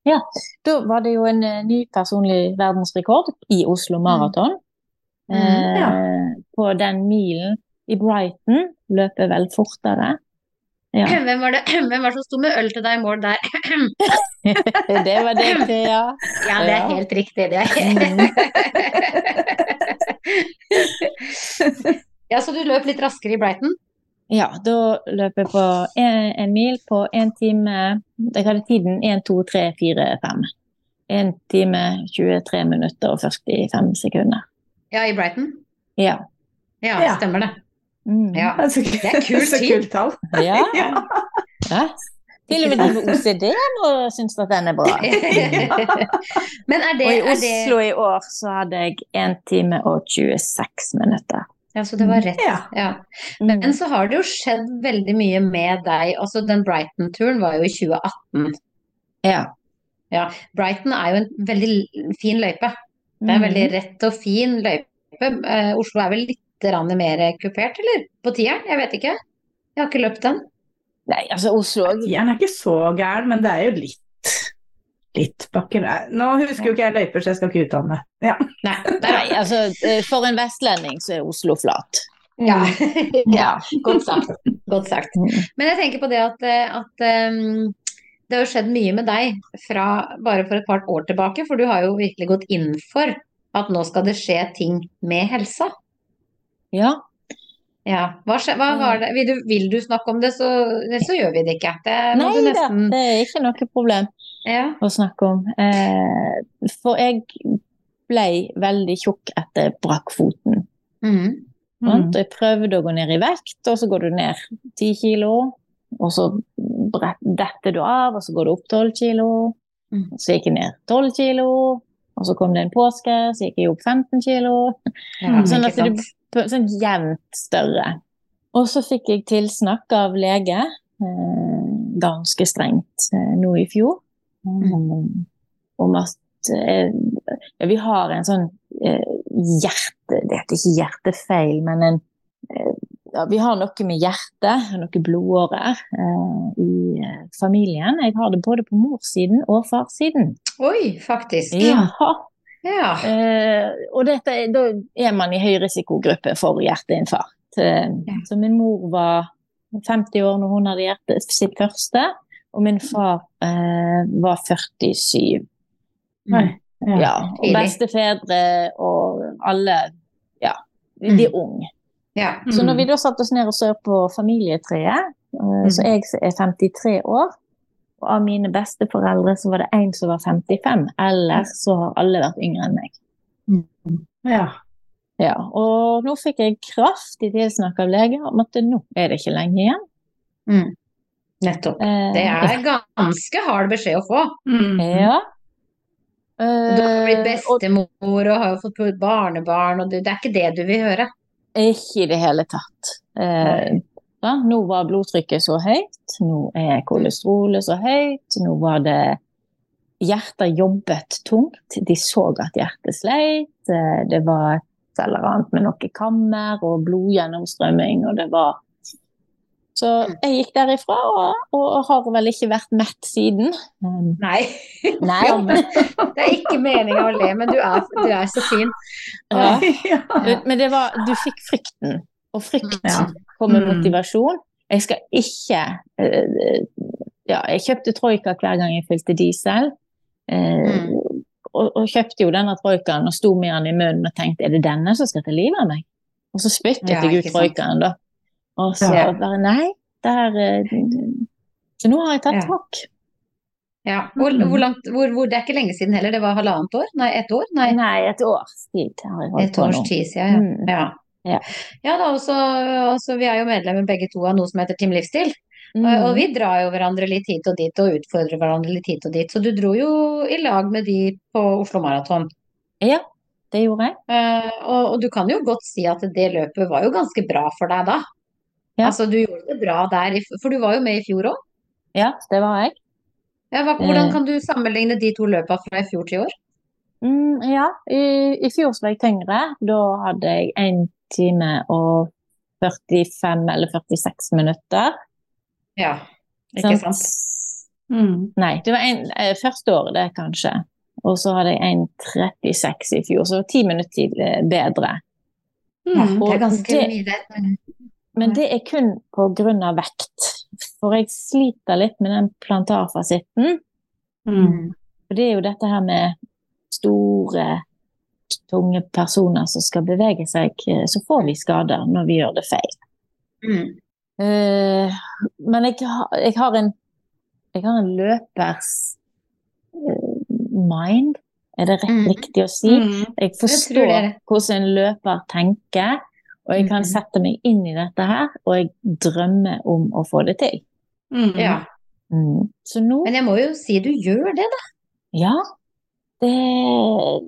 Speaker 3: Da var det jo en eh, ny personlig verdensrekord i Oslo Maraton.
Speaker 2: Mm,
Speaker 3: Eh,
Speaker 1: ja.
Speaker 3: På den milen i Brighton. Løper vel fortere. Ja.
Speaker 2: Hvem var det hvem var det som sto med øl til deg i mål der?
Speaker 3: Det var det, Thea.
Speaker 2: Ja, det er
Speaker 3: Ja.
Speaker 2: helt riktig. Det er
Speaker 3: Mm.
Speaker 2: Ja, så du løp litt raskere i Brighton?
Speaker 3: Ja, da løp jeg på en, en mil på én time Jeg hadde tiden 1, 2, 3, 4, 5. 1 time, 23 minutter og 45 sekunder.
Speaker 2: Ja, i Brighton?
Speaker 3: Ja.
Speaker 2: Ja,
Speaker 1: Ja.
Speaker 2: stemmer det.
Speaker 3: Mm.
Speaker 2: Ja.
Speaker 1: Det er så,
Speaker 2: Det er kul
Speaker 1: så
Speaker 2: tid.
Speaker 1: kult tall.
Speaker 3: ja.
Speaker 1: Ja.
Speaker 3: ja. Til og med de med OCD nå syns at den er bra.
Speaker 2: Men er det,
Speaker 3: Og i
Speaker 2: er det
Speaker 3: Oslo i år så hadde jeg 1 time og 26 minutter.
Speaker 2: Ja, så det var rett.
Speaker 1: Ja.
Speaker 2: Ja.
Speaker 3: Mm.
Speaker 2: Men så har det jo skjedd veldig mye med deg. Altså, den Brighton-turen var jo i 2018.
Speaker 3: Ja.
Speaker 2: Brighton er jo en veldig l- fin løype. Det
Speaker 3: Mm.
Speaker 2: er en veldig rett og fin løype. Eh, Oslo er vel litt grann mer kupert, eller? På tieren? Jeg vet ikke. Jeg har ikke løpt den.
Speaker 3: Nei, altså Oslo
Speaker 1: Tieren er ikke så gæren, men det er jo litt litt bakker. Nei, Nå husker jo ikke jeg løyper, så jeg skal ikke uttale meg. Ja.
Speaker 2: Nei, der
Speaker 3: Nei, altså eh, for en vestlending så er Oslo flat.
Speaker 2: Ja. ja.
Speaker 3: Ja.
Speaker 2: Godt sagt. Godt sagt.
Speaker 3: Mm.
Speaker 2: Men jeg tenker på det at, eh, at ehm, det har jo skjedd mye med deg fra bare for et par år tilbake, for du har jo virkelig gått inn for at nå skal det skje ting med helsa.
Speaker 3: Ja.
Speaker 2: Ja. Hva, skje, hva var det? Vil du, vil du snakke om det, så, så gjør vi det ikke. Det må
Speaker 3: Nei
Speaker 2: du
Speaker 3: da,
Speaker 2: nesten
Speaker 3: det er ikke noe problem
Speaker 2: ja.
Speaker 3: å snakke om. Eh, for jeg ble veldig tjukk etter jeg brakk foten.
Speaker 2: Mhm.
Speaker 1: Mm.
Speaker 3: sant? Og jeg prøvde å gå ned i vekt, og så går du ned ti kilo. Og så brett- detter du av, og så går du opp tolv kilo.
Speaker 2: Mm.
Speaker 3: Så gikk jeg ned tolv kilo. Og så kom det en påske, så gikk jeg opp 15 kilo.
Speaker 2: ja ikke
Speaker 3: Sånn at det
Speaker 2: sant.
Speaker 3: blir sånn jevnt større. Og så fikk jeg tilsnakk av lege, eh, ganske strengt eh, nå i fjor,
Speaker 2: Mm.
Speaker 3: om at eh, ja, vi har en sånn eh, hjerte... Det heter ikke hjertefeil, men en eh, ja, Vi har noe med hjertet, noe blodårer, eh, i eh, familien. Jeg har det både på morssiden og farssiden.
Speaker 2: Oi, faktisk.
Speaker 3: Jaha.
Speaker 2: Ja.
Speaker 3: Eh, og dette, er- da er man i høy risikogruppe for hjerteinfarkt. Eh,
Speaker 2: Ja.
Speaker 3: Så min mor var 50 år når hun hadde hjerte, sitt første, og min far eh, var 47.
Speaker 2: Mm.
Speaker 1: Nei. Ja.
Speaker 3: Ja. og
Speaker 2: Tidlig.
Speaker 3: bestefedre og alle Ja,
Speaker 2: Mm.
Speaker 3: de er unge.
Speaker 2: ja.
Speaker 1: Mm.
Speaker 3: Så når vi
Speaker 2: Mm.
Speaker 3: da satte oss ned og så på familietreet, eh,
Speaker 2: Mm.
Speaker 3: så jeg er 53 år, og av mine besteforeldre så var det én som var 55, ellers så har alle vært yngre enn meg.
Speaker 1: ja.
Speaker 3: Ja, og nå fikk jeg kraftig tilsnakk av legen om at nå er det ikke lenge igjen.
Speaker 2: Nettopp.
Speaker 3: Eh,
Speaker 2: Det er ganske hard beskjed å få.
Speaker 1: Mm.
Speaker 3: Ja.
Speaker 2: Du har blitt
Speaker 3: Eh, og
Speaker 2: bestemor og har jo fått barnebarn, og det, det er ikke det du vil høre.
Speaker 3: ikke i det hele tatt. Eh, ja, nå var blodtrykket så høyt, nå er kolesterolet så høyt, nå var det Hjertet jobbet tungt, de så at hjertet sleit, eh, det var et eller annet med noe kammer og blodgjennomstrømming, og det var Så jeg gikk derifra og, og har vel ikke vært mett siden.
Speaker 1: Mm.
Speaker 3: Um,
Speaker 2: Nei.
Speaker 3: Nei.
Speaker 2: Ja, men det er ikke meninga å le, men du er, du er så fin.
Speaker 3: Ja.
Speaker 1: ja.
Speaker 3: Men- Men det var, du fikk frykten, og frykt
Speaker 1: Ja.
Speaker 3: kom med
Speaker 1: Mm.
Speaker 3: motivasjon. Jeg skal ikke eh, Ja, jeg kjøpte Troika hver gang jeg fylte diesel. eh,
Speaker 2: Mm.
Speaker 3: og, og kjøpte jo denne Troikaen og sto med den i munnen og tenkte er det denne som skal til livet av meg? Og så spyttet
Speaker 2: Ja,
Speaker 3: jeg ut
Speaker 2: ikke sant.
Speaker 3: Troikaen, da. Og så
Speaker 2: Ja.
Speaker 3: bare nei, det her eh, Så nå har jeg tatt
Speaker 2: Ja.
Speaker 3: tak.
Speaker 2: Ja. Hvor,
Speaker 1: Mm.
Speaker 2: hvor langt, hvor, hvor, det er ikke lenge siden heller, det var halvannet år? Nei, ett år? Nei,
Speaker 3: Nei, et års tid har jeg holdt
Speaker 2: et
Speaker 3: på
Speaker 2: års
Speaker 3: nå.
Speaker 2: tid siden.
Speaker 3: Mm.
Speaker 2: Ja. Ja.
Speaker 3: Ja.
Speaker 2: ja da, og så, og så vi er jo medlemmer begge to av noe som heter Team Livsstil. Og,
Speaker 3: Mm.
Speaker 2: og vi drar jo hverandre litt hit og dit og utfordrer hverandre litt hit og dit. Så du dro jo i lag med de på Oslo Maraton.
Speaker 3: Ja, mm, det gjorde jeg.
Speaker 2: Eh, og, og du kan jo godt si at det løpet var jo ganske bra for deg da.
Speaker 3: Ja.
Speaker 2: Altså, du gjorde det bra der, i f- for du var jo med i fjor òg.
Speaker 3: Ja, det var jeg.
Speaker 2: Ja, hva- hvordan
Speaker 3: Eh.
Speaker 2: kan du sammenligne de to løpene fra i fjor til i år?
Speaker 3: Mm, ja, i, i fjor så var jeg tyngre. Da hadde jeg 1 time og 45 eller 46 minutter.
Speaker 2: Ja, ikke sant?
Speaker 1: Mm.
Speaker 3: Nei, det var en, eh, første året det kanskje. Og så hadde jeg 1,36 i fjor, så det var 10 minutter til, eh, bedre.
Speaker 1: Mm.
Speaker 2: Det
Speaker 3: Og
Speaker 2: er ganske
Speaker 3: det-
Speaker 2: mye det. men-
Speaker 3: Men
Speaker 2: Mm.
Speaker 3: det er kun på grunn av vekt. For jeg sliter litt med den plantarfasitten.
Speaker 1: Mm.
Speaker 3: For det er jo dette her med store, tunge personer som skal bevege seg, eh, så får vi skader når vi gjør det feil.
Speaker 2: Mm.
Speaker 3: Eh, men jeg, ha- jeg har en jeg har en løpers eh, mind, er det rett
Speaker 2: Mm.
Speaker 3: riktig å si?
Speaker 1: Mm.
Speaker 3: Jeg
Speaker 2: tror det
Speaker 3: forstår
Speaker 2: er det.
Speaker 3: hvordan en løper tenker, og jeg kan
Speaker 2: Mhm.
Speaker 3: sette meg inn i dette her, og jeg drømmer om å få det til.
Speaker 1: Mm.
Speaker 2: Ja.
Speaker 3: Mm. Så nå
Speaker 2: Men jeg må jo si du gjør det, da.
Speaker 3: Ja. Det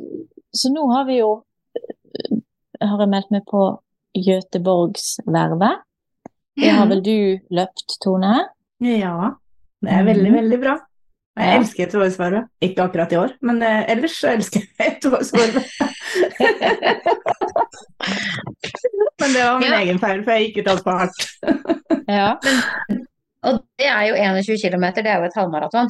Speaker 3: Så nå har vi jo eh, Har jeg meldt meg på Göteborgsvervet. Det har vel du løpt, Tone?
Speaker 1: Ja, det er veldig,
Speaker 3: Mhm.
Speaker 1: veldig bra. Og jeg
Speaker 3: Ja.
Speaker 1: elsker Göteborgsvarvet. Ikke akkurat i år, men eh, ellers så elsker jeg Göteborgsvarvet. men det var min
Speaker 2: Ja.
Speaker 1: egen feil, for jeg gikk ut altfor hardt.
Speaker 3: Ja.
Speaker 2: Og det er jo 21 km, det er jo et halvmaraton.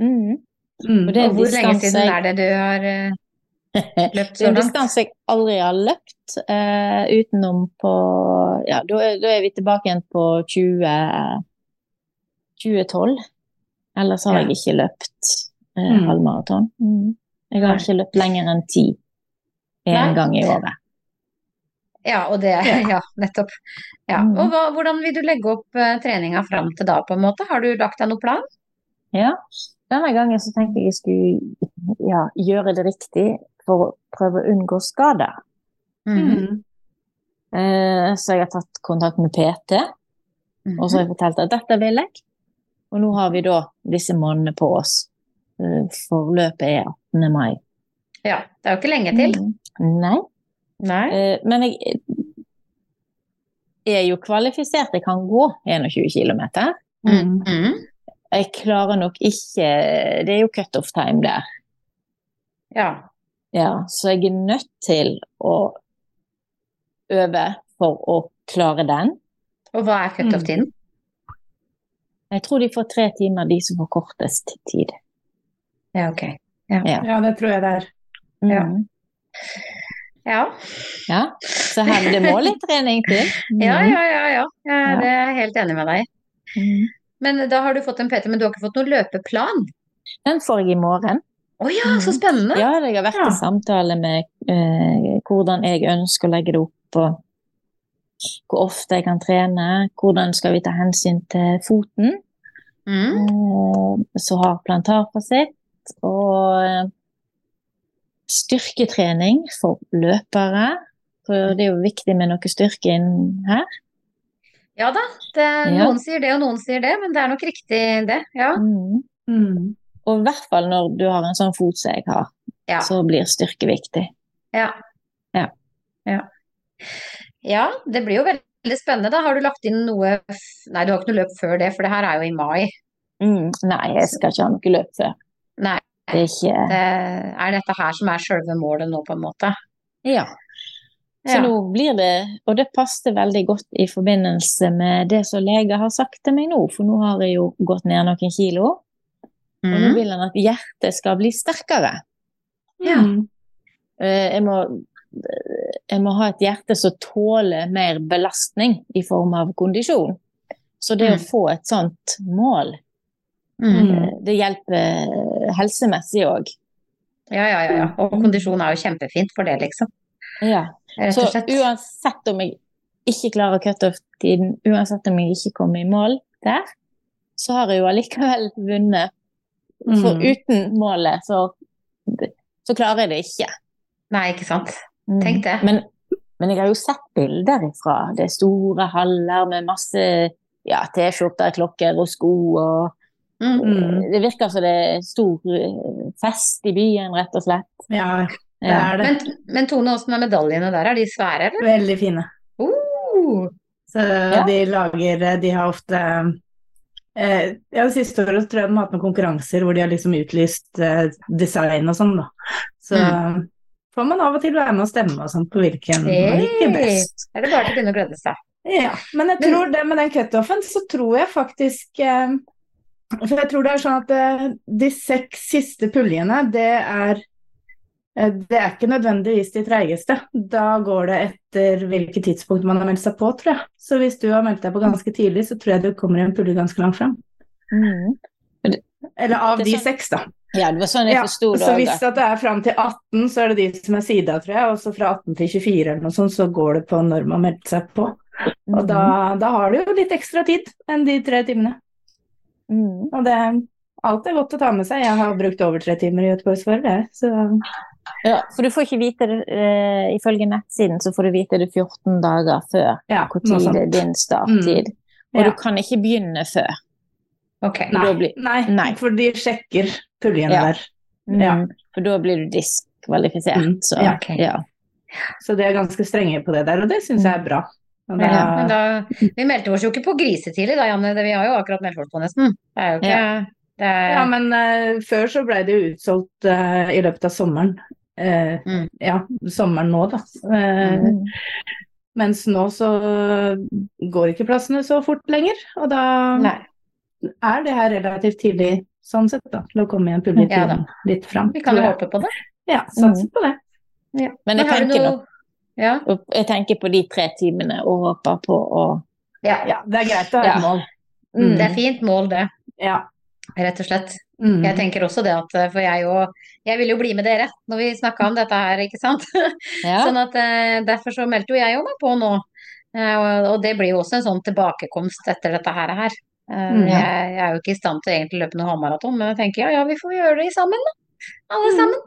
Speaker 3: Mm.
Speaker 1: Mm.
Speaker 3: Og det er
Speaker 2: Og
Speaker 3: en
Speaker 2: hvor lenge
Speaker 3: distanse
Speaker 2: siden
Speaker 3: jeg-
Speaker 2: er det du har eh, løpt
Speaker 3: Det er
Speaker 2: så
Speaker 3: en
Speaker 2: langt?
Speaker 3: distanse jeg aldri har løpt eh, utenom på Ja, da er, da er vi tilbake igjen på 20, 2012. Ellers har
Speaker 2: Ja.
Speaker 3: jeg ikke løpt eh,
Speaker 1: Mm.
Speaker 3: halvmaraton. Mm. Jeg
Speaker 2: Nei.
Speaker 3: har ikke løpt lenger enn ti
Speaker 2: Nei.
Speaker 3: én gang i året.
Speaker 2: Ja, og det,
Speaker 1: Ja.
Speaker 2: ja, Mm. nettopp. Ja.
Speaker 3: Mhm.
Speaker 2: Og hva, hvordan vil du legge opp eh, treninga fram til da, på en måte? Har du lagt deg noen plan?
Speaker 3: Ja. Denne gangen så tenkte jeg jeg skulle ja, gjøre det riktig for å prøve å unngå skader.
Speaker 2: Mhm.
Speaker 1: Mm.
Speaker 3: Eh, Så jeg har tatt kontakt med PT,
Speaker 2: Mm.
Speaker 3: og så har jeg fortalt at dette vil jeg. Og nå har vi da disse månedene på oss. Eh, For løpet er 18. mai.
Speaker 2: Ja, det er jo ikke lenge til.
Speaker 3: Mm. Nei.
Speaker 2: Nei.
Speaker 3: Eh, Men jeg er jo kvalifisert. Jeg kan gå 21 km.
Speaker 1: Mm.
Speaker 2: Mhm.
Speaker 3: Jeg klarer nok ikke Det er jo cutoff time der.
Speaker 2: Ja.
Speaker 3: Ja, så jeg er nødt til å øve for å klare den.
Speaker 2: Og hva er cutoff-tiden?
Speaker 3: Jeg tror de får tre timer, de som får kortest tid.
Speaker 2: Ja, ok.
Speaker 1: Ja, det tror jeg det er.
Speaker 2: Ja.
Speaker 3: Mm.
Speaker 2: Ja.
Speaker 3: Ja, så her, det må litt trening til.
Speaker 2: Ja, ja, ja, ja. Eh,
Speaker 3: Mm. Ja.
Speaker 2: Det er jeg helt enig med deg i.
Speaker 3: Mm.
Speaker 2: Men da har du fått en PT, men du har ikke fått noen løpeplan?
Speaker 3: Den får jeg i morgen.
Speaker 2: Å ja, så spennende!
Speaker 3: Mm. Ja, jeg har vært
Speaker 1: Ja.
Speaker 3: i samtale med eh, hvordan jeg ønsker å legge det opp, og hvor ofte jeg kan trene, hvordan skal vi ta hensyn til foten,
Speaker 2: Mhm.
Speaker 3: eh, som har plantarfasitt, og eh, styrketrening for løpere, for det er jo viktig med noe styrke inn her.
Speaker 2: Ja da, det,
Speaker 3: Ja.
Speaker 2: noen sier det og noen sier det, men det er nok riktig det. Ja.
Speaker 3: Mm.
Speaker 1: Mm.
Speaker 3: Og i hvert fall når du har en sånn fot som jeg har,
Speaker 2: Ja.
Speaker 3: så blir styrke viktig.
Speaker 2: Ja.
Speaker 3: Ja.
Speaker 2: Ja. Ja, det blir jo veldig spennende. Da har du lagt inn noe f- Nei, du har ikke noe løp før det, for det her er jo i mai.
Speaker 3: Mm, nei, jeg skal ikke ha noe løp før.
Speaker 2: Nei.
Speaker 3: Det er ikke
Speaker 2: Det er dette her som er selve målet nå, på en måte.
Speaker 3: Ja. Så
Speaker 2: Ja.
Speaker 3: nå blir det Og det passet veldig godt i forbindelse med det som leger har sagt til meg nå, for nå har jeg jo gått ned noen kilo, og nå
Speaker 2: Mhm.
Speaker 3: vil han at hjertet skal bli sterkere.
Speaker 2: Ja.
Speaker 1: Mm.
Speaker 3: Eh, Jeg må, jeg må ha et hjerte som tåler mer belastning i form av kondisjon. Så det
Speaker 2: Mm.
Speaker 3: å få et sånt mål,
Speaker 2: Mhm.
Speaker 3: eh, det hjelper helsemessig òg.
Speaker 2: Ja, ja, ja. ja. Og
Speaker 3: Mhm.
Speaker 2: kondisjon er jo kjempefint for det, liksom.
Speaker 3: Ja.
Speaker 2: Rett
Speaker 3: Så
Speaker 2: og slett.
Speaker 3: uansett om jeg ikke klarer cutoff-tiden, uansett om jeg ikke kommer i mål der, så har jeg jo allikevel vunnet. For
Speaker 1: Mm.
Speaker 3: uten målet, så, så klarer jeg det ikke.
Speaker 2: Nei, ikke sant.
Speaker 3: Mm.
Speaker 2: Tenk det.
Speaker 3: Men, men jeg har jo sett bilder ifra. Det er store haller med masse ja, T-skjorter, klokker og sko. og eh,
Speaker 2: Mm.
Speaker 1: Mm.
Speaker 3: Det virker som det er stor eh, fest i byen, rett og slett.
Speaker 1: Ja, det
Speaker 3: Ja.
Speaker 1: er det.
Speaker 2: Men, men Tone, åssen er medaljene der? Er de svære, eller?
Speaker 1: Veldig fine.
Speaker 2: Oh,
Speaker 1: Så de lager De har ofte eh, Ja, det siste året tror jeg de har hatt noen konkurranser hvor de har liksom utlyst eh, design og sånn, da. Så får man av og til være med og stemme og sånn på hvilken man liker
Speaker 2: Hey.
Speaker 1: best.
Speaker 2: er det bare til å begynne å glede seg?
Speaker 1: Ja, men jeg
Speaker 2: Men-
Speaker 1: tror det med den cutoffen, så tror jeg faktisk eh, For jeg tror det er sånn at eh, de seks siste puljene, det er eh, det er ikke nødvendigvis de treigeste. Da går det etter hvilket tidspunkt man har meldt seg på, tror jeg. Så hvis du har meldt deg på ganske tidlig, så tror jeg du kommer i en pulje ganske langt fram. Eller av
Speaker 3: Det er
Speaker 1: de
Speaker 3: sant.
Speaker 1: seks, da.
Speaker 3: Mm. Ja, det var sånn jeg
Speaker 1: Ja,
Speaker 3: forsto det
Speaker 1: Så
Speaker 3: òg.
Speaker 1: hvis at det er fram til 18, så er det de som er sida, tror jeg. Og så fra 18 til 24 eller noe sånt, så går det på når man meldte seg på.
Speaker 3: Mm.
Speaker 1: Og da,
Speaker 3: Mhm.
Speaker 1: da har du jo litt ekstra tid enn de tre timene.
Speaker 3: Mm.
Speaker 1: Og det alt er godt å ta med seg. Jeg har brukt over tre timer i Göteborgsvarv, jeg. Så
Speaker 3: Ja, for du får ikke vite det eh, Ifølge nettsiden så får du vite det 14 dager før
Speaker 1: ja,
Speaker 3: hvor
Speaker 1: noe
Speaker 3: Ah, tid det er
Speaker 1: sånt.
Speaker 3: din starttid. Og
Speaker 1: Ja.
Speaker 3: du kan ikke begynne før.
Speaker 2: Ok.
Speaker 3: Nei. Da blir-
Speaker 1: Nei,
Speaker 3: Nei.
Speaker 1: for de sjekker puljene
Speaker 3: Ja.
Speaker 1: der.
Speaker 3: Mm.
Speaker 1: Ja.
Speaker 3: For da blir du diskvalifisert.
Speaker 1: Mm.
Speaker 3: Så,
Speaker 2: Ja, ok.
Speaker 3: ja.
Speaker 1: Så de er ganske strenge på det der, og det syns jeg er bra. Og da,
Speaker 3: Ja,
Speaker 2: Men da, vi meldte oss jo ikke på grisetidlig da, Janne. Det, vi har jo akkurat meldt oss på, nesten. Det er jo ikke det er,
Speaker 1: ja, men eh, før så ble det jo utsolgt eh, i løpet av sommeren. Eh,
Speaker 2: Mm.
Speaker 1: Ja, sommeren nå, da. Eh,
Speaker 3: Mm.
Speaker 1: Mens nå så går ikke plassene så fort lenger. Og da
Speaker 2: Nei.
Speaker 1: er det her relativt tidlig sånn sett, da, til å komme i en pulje
Speaker 2: Ja da.
Speaker 1: litt fram.
Speaker 2: Vi kan
Speaker 1: tror
Speaker 2: jo
Speaker 1: jeg.
Speaker 2: håpe på det.
Speaker 1: Ja, satser på det.
Speaker 3: Men jeg
Speaker 2: har du
Speaker 3: tenker,
Speaker 2: noe- Ja.
Speaker 3: nok- og jeg tenker på de tre timene og håper på å
Speaker 2: ja.
Speaker 1: Ja, det er greit å ha
Speaker 3: Ja.
Speaker 1: et mål.
Speaker 3: Mm.
Speaker 2: Det er fint mål, det.
Speaker 1: Ja.
Speaker 2: Rett og slett.
Speaker 1: Mm.
Speaker 2: Jeg tenker også det at eh, For jeg òg Jeg ville jo bli med dere når vi snakka om dette her, ikke sant?
Speaker 3: ja.
Speaker 2: Sånn at eh, derfor så meldte jo jeg jo meg på nå. Eh, og, og det blir jo også en sånn tilbakekomst etter dette her. her. Eh,
Speaker 1: Mm.
Speaker 2: jeg, jeg er jo ikke i stand til å egentlig løpe noe halvmaraton, men jeg tenker ja, ja, vi får gjøre det sammen, da. Alle
Speaker 1: Mm.
Speaker 2: sammen.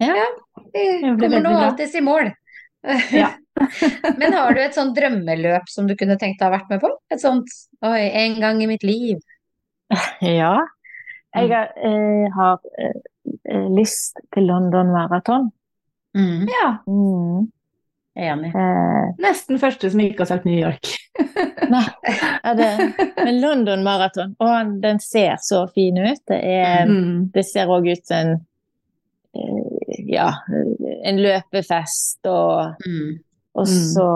Speaker 3: Ja.
Speaker 2: vi
Speaker 1: Det blir
Speaker 2: kommer nå
Speaker 1: veldig bra.
Speaker 2: alltids i mål.
Speaker 1: Ja.
Speaker 2: men har du et sånn drømmeløp som du kunne tenkt deg å ha vært med på? Et sånt oi, en gang i mitt liv.
Speaker 3: ja. Jeg har, eh, har eh, eh, lyst til London Marathon.
Speaker 2: Mm.
Speaker 1: ja.
Speaker 3: Mm.
Speaker 2: Enig.
Speaker 3: Eh,
Speaker 1: Nesten første som ikke har sagt New York.
Speaker 3: ja, det, men London Marathon, å, den ser så fin ut. Det, er,
Speaker 1: Mm.
Speaker 3: det ser òg ut som en eh, ja, en løpefest og
Speaker 2: Mm.
Speaker 3: Og
Speaker 1: Mm.
Speaker 3: så,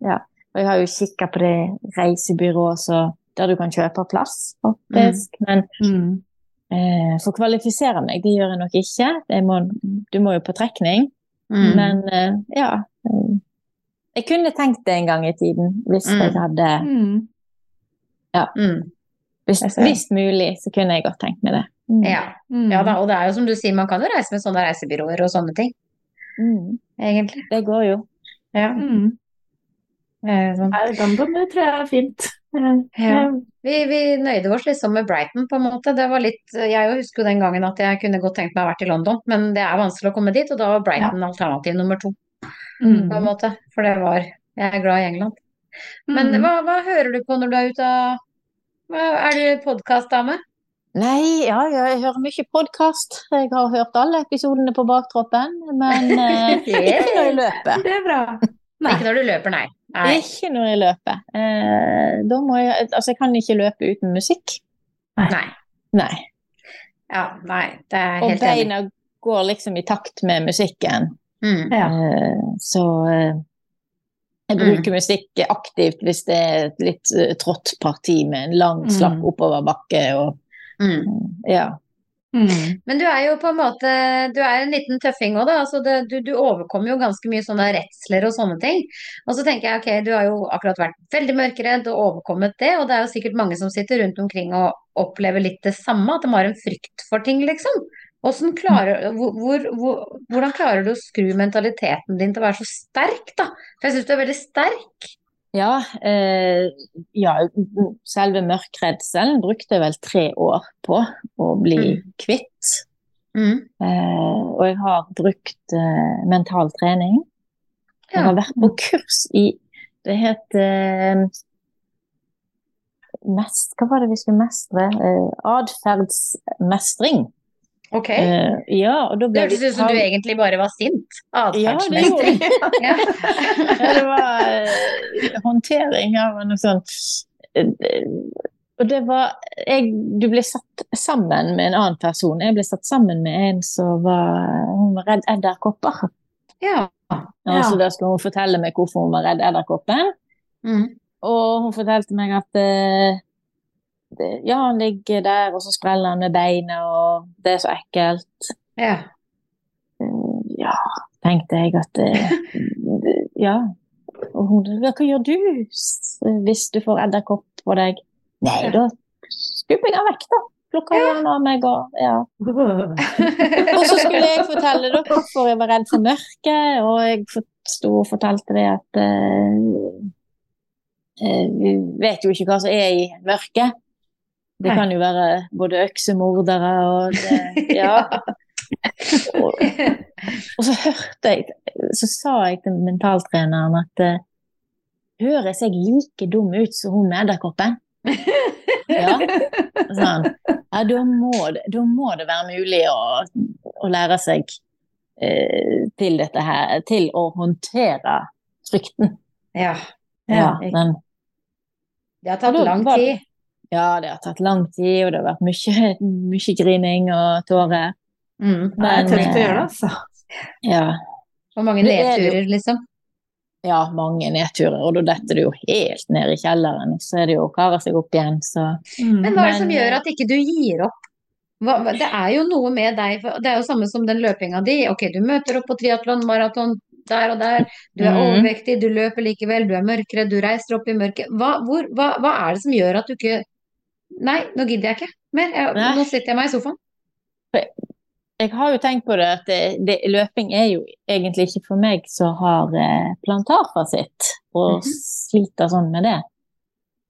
Speaker 3: ja. Og jeg har jo kikket på det reisebyrået så- der du kan kjøpe plass, faktisk. Men
Speaker 1: Mm.
Speaker 3: eh, for å kvalifisere meg, det gjør jeg nok ikke. Jeg må, du må jo på trekning.
Speaker 2: Mm.
Speaker 3: Men eh, ja. eh, Jeg kunne tenkt det en gang i tiden, hvis
Speaker 2: Mm.
Speaker 3: jeg hadde
Speaker 1: Mm.
Speaker 2: Mm.
Speaker 3: hvis,
Speaker 2: Jeg ser.
Speaker 3: hvis mulig, så kunne jeg godt tenkt meg det. Mm.
Speaker 2: Ja.
Speaker 1: Mm.
Speaker 2: ja da, og det er jo som du sier, man kan jo reise med sånne reisebyråer og sånne ting,
Speaker 3: Mm.
Speaker 2: egentlig.
Speaker 3: Det går jo.
Speaker 2: Ja.
Speaker 1: Mm.
Speaker 2: Eh, sånn.
Speaker 1: Nei, London det tror jeg er fint.
Speaker 2: Ja. Vi, vi nøyde oss liksom med Brighton, på en måte. Det var litt, jeg jo husker jo den gangen at jeg kunne godt tenkt meg å ha vært i London, men det er vanskelig å komme dit, og da var Brighton alternativ nummer to,
Speaker 1: Mm.
Speaker 2: på en måte. For det var Jeg er glad i England. Men hva, hva hører du på når du er ute av hva, Er du podkastdame?
Speaker 3: Nei, ja, ja, jeg hører mye podkast. Jeg har hørt alle episodene på baktroppen, men eh, ikke når jeg løper.
Speaker 1: Det er bra. Nei.
Speaker 2: Ikke når du løper, nei. nei.
Speaker 3: Ikke når jeg løper. Eh, da må jeg, altså, jeg kan ikke løpe uten musikk.
Speaker 2: Nei.
Speaker 3: Nei.
Speaker 2: Ja, nei. Det er jeg
Speaker 3: Og
Speaker 2: helt enig.
Speaker 3: beina går liksom i takt med musikken.
Speaker 2: Mm.
Speaker 1: Ja.
Speaker 3: Eh, så eh, jeg
Speaker 2: Mm.
Speaker 3: bruker musikk aktivt hvis det er et litt eh, trått parti med en lang
Speaker 1: Mm.
Speaker 3: slapp oppoverbakke og
Speaker 2: Mm.
Speaker 3: ja.
Speaker 1: Mm.
Speaker 2: Men du er jo på en måte Du er en liten tøffing òg, da. Altså det, du, du overkommer jo ganske mye sånne redsler og sånne ting. Og så tenker jeg ok, du har jo akkurat vært veldig mørkeredd og overkommet det, og det er jo sikkert mange som sitter rundt omkring og opplever litt det samme, at de har en frykt for ting, liksom. Hvordan klarer, hvor, hvor, hvor, hvordan klarer du å skru mentaliteten din til å være så sterk, da? For jeg syns du er veldig sterk.
Speaker 3: Ja, eh, ja, selve mørkredselen brukte jeg vel tre år på å bli
Speaker 2: Mm.
Speaker 3: kvitt.
Speaker 2: Mm.
Speaker 3: Eh, og jeg har brukt eh, mental trening. Jeg har vært på kurs i Det het eh, mest, Hva var det vi skulle mestre? Eh, Atferdsmestring.
Speaker 2: Ok.
Speaker 3: Eh, ja, og da
Speaker 2: Det
Speaker 3: ble
Speaker 2: hørtes ut som du egentlig bare var sint.
Speaker 3: Ja, det
Speaker 2: Atferdsmessig.
Speaker 3: gjorde
Speaker 2: Ja,
Speaker 3: Ja, det var eh, håndtering av noe sånt. Eh, Og det var jeg, Du ble satt sammen med en annen person. Jeg ble satt sammen med en som var Hun var redd edderkopper.
Speaker 2: ja.
Speaker 3: Og
Speaker 1: Ja.
Speaker 3: så da skulle hun fortelle meg hvorfor hun var redd edderkoppen.
Speaker 2: Mm.
Speaker 3: Og hun fortalte meg at eh, det- ja, han ligger der, og så spreller han med beina, og det er så ekkelt.
Speaker 2: ja.
Speaker 3: Eh, Ja, tenkte jeg at eh, Ja. Og hun ja, Hva gjør du s- hvis du får edderkopp på deg? Nei,
Speaker 2: Ja.
Speaker 3: da skubber jeg han vekk, da. Plukker
Speaker 2: Ja.
Speaker 3: han av meg og ja.
Speaker 1: Åh.
Speaker 3: Og så skulle jeg fortelle da hvorfor jeg var redd for mørket, og jeg fort- sto og fortalte det at eh, eh, Vi vet jo ikke hva som er i mørket. Det
Speaker 2: Nei.
Speaker 3: kan jo være både øksemordere og det, Ja. Og, og så hørte jeg, så sa jeg til mentaltreneren at eh, Høres jeg like dum ut som hun med edderkoppen? Ja, sa han. Ja, da må, det- da må det være mulig å, å lære seg eh, til dette her, til å håndtere frykten.
Speaker 2: ja.
Speaker 1: Ja.
Speaker 3: den,
Speaker 2: Det har tatt
Speaker 3: Da
Speaker 2: lang
Speaker 3: var-
Speaker 2: tid.
Speaker 3: ja, det har tatt lang tid, og det har vært mye, mye grining og tårer.
Speaker 2: Mm.
Speaker 1: Det er
Speaker 3: Men,
Speaker 1: tøft å
Speaker 3: eh,
Speaker 1: gjøre det, altså.
Speaker 3: Ja,
Speaker 2: Og mange
Speaker 3: Det er det jo.
Speaker 2: nedturer, liksom.
Speaker 3: ja, mange nedturer, og da detter du jo helt ned i kjelleren, og så er det jo å kare seg opp igjen, så
Speaker 2: Men eh,
Speaker 1: Mm.
Speaker 2: hva er det som
Speaker 3: Men,
Speaker 2: gjør at ikke du gir opp? Hva, hva- det er jo noe med deg, for det er jo samme som den løpinga di. Ok, du møter opp på triatlon, maraton, der og der. Du er
Speaker 3: Mhm.
Speaker 2: overvektig, du løper likevel, du er mørkere, du reiser opp i mørket. Hva, hvor, hva, hva er det som gjør at du ikke Nei, nå gidder jeg ikke mer. Jeg,
Speaker 3: Nei.
Speaker 2: nå sitter jeg meg i sofaen.
Speaker 3: Jeg har jo tenkt på det at det, det, løping er jo egentlig ikke for meg som har eh, plantarfasitt og
Speaker 2: Mhm.
Speaker 3: sliter sånn med det.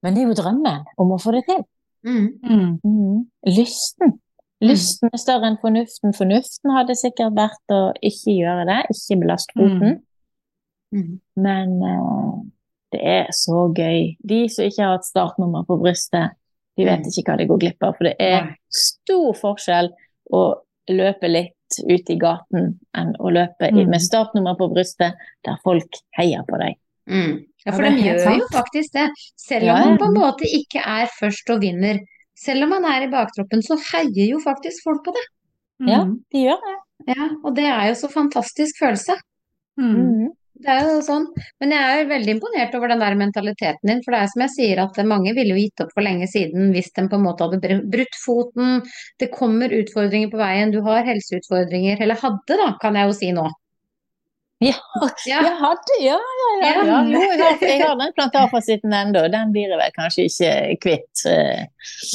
Speaker 3: Men det er jo drømmen om å få det til.
Speaker 2: Mm.
Speaker 1: Mm.
Speaker 3: Lysten. Lysten er større enn fornuften. Fornuften hadde sikkert vært å ikke gjøre det, ikke belaste foten.
Speaker 2: Mm.
Speaker 3: Men eh, det er så gøy. De som ikke har et startnummer på brystet, de vet
Speaker 2: Mm.
Speaker 3: ikke hva de går glipp av. For det er
Speaker 2: Nei.
Speaker 3: stor forskjell å løpe litt ute i gaten enn å løpe i,
Speaker 1: Mm.
Speaker 3: med startnummer på brystet der folk heier på deg.
Speaker 2: Mm. Ja, for
Speaker 1: Ja, det er
Speaker 2: de
Speaker 1: helt
Speaker 2: gjør jo
Speaker 1: sant.
Speaker 2: faktisk det. Selv om
Speaker 3: Ja,
Speaker 2: man
Speaker 3: ja.
Speaker 2: på en måte ikke er først og vinner. Selv om man er i baktroppen, så heier jo faktisk folk på det.
Speaker 3: Ja.
Speaker 1: Mm.
Speaker 3: De gjør det.
Speaker 2: Ja, og det er jo så fantastisk følelse.
Speaker 1: Mm.
Speaker 2: Det er jo sånn. Men jeg er veldig imponert over den der mentaliteten din. For det er som jeg sier, at mange ville jo gitt opp for lenge siden hvis de på en måte hadde br- brutt foten. Det kommer utfordringer på veien. Du har helseutfordringer. Eller hadde, da, kan jeg jo si nå.
Speaker 3: Ja.
Speaker 2: Ja.
Speaker 3: Jeg hadde, ja, ja, ja,
Speaker 2: Ja.
Speaker 3: ja. Jo, jeg har, jeg har den plantarfasitten ennå. Den blir jeg vel kanskje ikke kvitt. eh.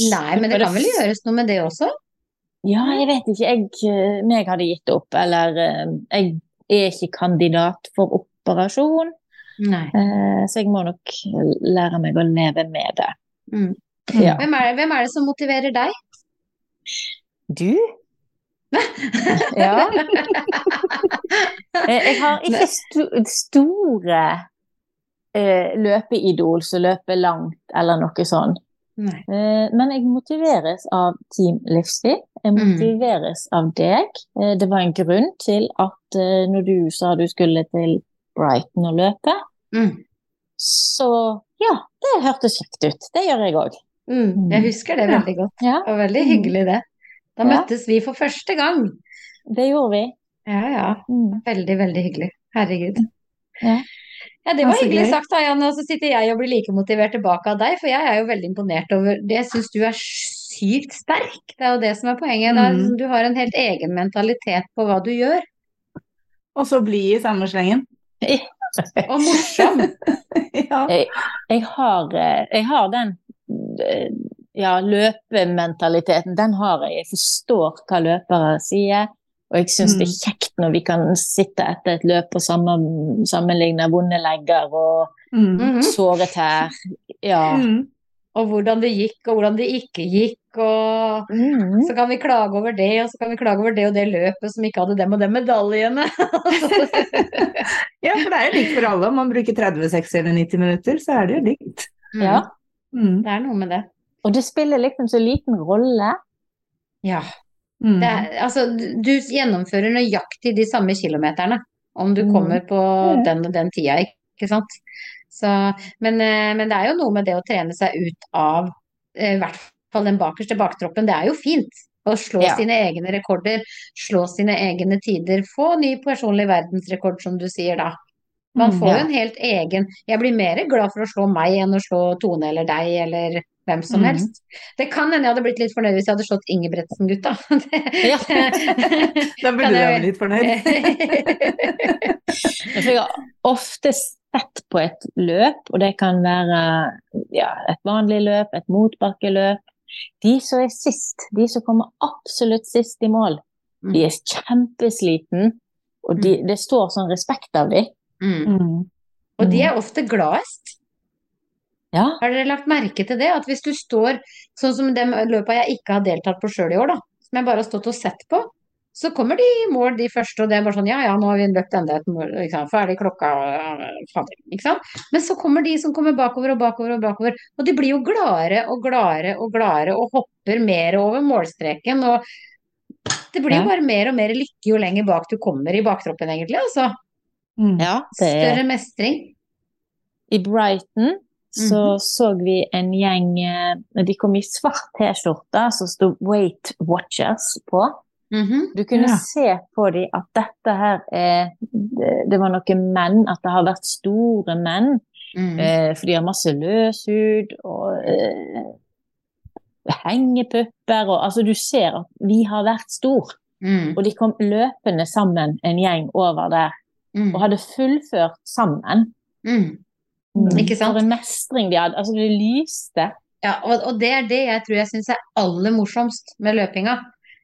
Speaker 2: Nei, men det
Speaker 3: For
Speaker 2: kan vel gjøres noe med det også?
Speaker 3: Ja, jeg vet ikke. Jeg, eh, meg hadde gitt opp. Eller eh, jeg er ikke kandidat for operasjon,
Speaker 2: Nei.
Speaker 3: eh, så jeg må nok lære meg å leve med det.
Speaker 2: Mm.
Speaker 3: Ja.
Speaker 2: Hvem er, hvem er det som motiverer deg?
Speaker 3: Du? ja. Eh, Jeg har ikke sto store eh, løpeidol som løper langt eller noe sånn.
Speaker 2: Nei.
Speaker 3: Eh, men jeg motiveres av Team Livsstil. Jeg
Speaker 2: Mm.
Speaker 3: motiveres av deg. Eh, det var en grunn til at eh, når du sa du skulle til Brighton og løpe,
Speaker 2: Mm.
Speaker 3: så ja, det hørtes kjekt ut. Det gjør jeg òg.
Speaker 2: Mm. Jeg husker det
Speaker 1: Ja.
Speaker 2: veldig godt.
Speaker 3: Ja,
Speaker 2: Det var veldig
Speaker 3: Mm.
Speaker 2: hyggelig, det. Da
Speaker 3: Ja.
Speaker 2: møttes vi for første gang.
Speaker 3: det gjorde vi.
Speaker 2: Ja, ja.
Speaker 3: Mm.
Speaker 2: Veldig, veldig hyggelig. Herregud.
Speaker 3: Ja.
Speaker 2: Ja, det
Speaker 1: Ja,
Speaker 2: var
Speaker 1: så
Speaker 2: hyggelig
Speaker 1: gøy.
Speaker 2: sagt, da, Janne. Og så sitter jeg og blir like motivert tilbake av deg, for jeg er jo veldig imponert over det. Jeg syns du er sykt sterk. Det er jo det som er poenget. Det er,
Speaker 1: Mm.
Speaker 2: liksom, du har en helt egen mentalitet på hva du gjør.
Speaker 1: Og så bli i samme slengen.
Speaker 2: Og morsom.
Speaker 1: Ja.
Speaker 3: Mm. Jeg har, eh, jeg har den eh, ja, løpementaliteten. Den har jeg. Jeg forstår hva løpere sier. Og jeg syns det er kjekt når vi kan sitte etter et løp og sammen, sammenligne vonde legger og
Speaker 1: Mm.
Speaker 3: såre tær. Ja.
Speaker 1: Mm.
Speaker 2: Mhm. Og hvordan det gikk, og hvordan det ikke gikk, og
Speaker 3: Mm.
Speaker 2: så kan vi klage over det, og så kan vi klage over det og det løpet som ikke hadde dem og de medaljene.
Speaker 1: Ja, for det er jo likt for alle. Om man bruker 30, 60 eller 90 minutter, så er det jo likt.
Speaker 3: Ja.
Speaker 1: Mm.
Speaker 2: Det er noe med det.
Speaker 3: Og det spiller liksom så liten rolle.
Speaker 2: Ja.
Speaker 1: Mm.
Speaker 2: Det er, altså, du- du gjennomfører nøyaktig de samme kilometerne om du
Speaker 1: Mm.
Speaker 2: kommer på
Speaker 3: Mm.
Speaker 2: den og den tida, ikke sant. Så, men, eh, men det er jo noe med det å trene seg ut av eh, i hvert fall den bakerste baktroppen. Det er jo fint å slå
Speaker 3: Ja.
Speaker 2: sine egne rekorder, slå sine egne tider, få ny personlig verdensrekord, som du sier da. Man
Speaker 1: Mm,
Speaker 2: får jo
Speaker 3: ja.
Speaker 2: en helt egen Jeg blir mer glad for å slå meg enn å slå Tone eller deg eller hvem som
Speaker 3: Mm.
Speaker 2: helst. Det kan hende jeg hadde blitt litt fornøyd hvis jeg hadde slått Ingebretsen-gutta.
Speaker 3: Ja.
Speaker 1: Da
Speaker 2: Kan
Speaker 1: burde du
Speaker 2: jeg-
Speaker 1: være litt fornøyd.
Speaker 3: For jeg har ofte sett på et løp, og det kan være ja, et vanlig løp, et motbakkeløp. De som er sist, de som kommer absolutt sist i mål, de er kjempesliten, og de, det står sånn respekt av dem.
Speaker 2: Mm.
Speaker 1: Mm.
Speaker 2: Og de er ofte gladest.
Speaker 3: Ja.
Speaker 2: Har dere lagt merke til det? At hvis du står sånn som de løpa jeg ikke har deltatt på sjøl i år, da, som jeg bare har stått og sett på, så kommer de i mål, de første, og det er bare sånn ja ja, nå har vi løpt enda et mål, ikke sant. ferdig klokka øh, fader, ikke sant. Men så kommer de som kommer bakover og bakover og bakover, og de blir jo gladere og gladere og gladere og hopper mer over målstreken og Det blir jo
Speaker 3: Ja.
Speaker 2: bare mer og mer lykke jo lenger bak du kommer i baktroppen, egentlig, altså.
Speaker 1: Mm.
Speaker 3: det er
Speaker 2: Større mestring.
Speaker 3: I Brighton så så vi en gjeng eh, De kom i svart T-skjorte som sto Weight Watchers på.
Speaker 2: Mhm.
Speaker 3: Du kunne
Speaker 1: Ja.
Speaker 3: se på dem at dette her er det, det var noen menn, at det har vært store menn.
Speaker 2: Mm.
Speaker 3: Eh, for de har masse løshud og eh, hengepupper og Altså, du ser at vi har vært stor.
Speaker 2: Mm.
Speaker 3: Og de kom løpende sammen, en gjeng over der,
Speaker 2: Mm.
Speaker 3: og hadde fullført sammen.
Speaker 2: Mm.
Speaker 1: Mm.
Speaker 2: Ikke sant?
Speaker 3: For en mestring de hadde. Altså, det lyste.
Speaker 2: Ja, og, og det er det jeg tror jeg syns er aller morsomst med løpinga.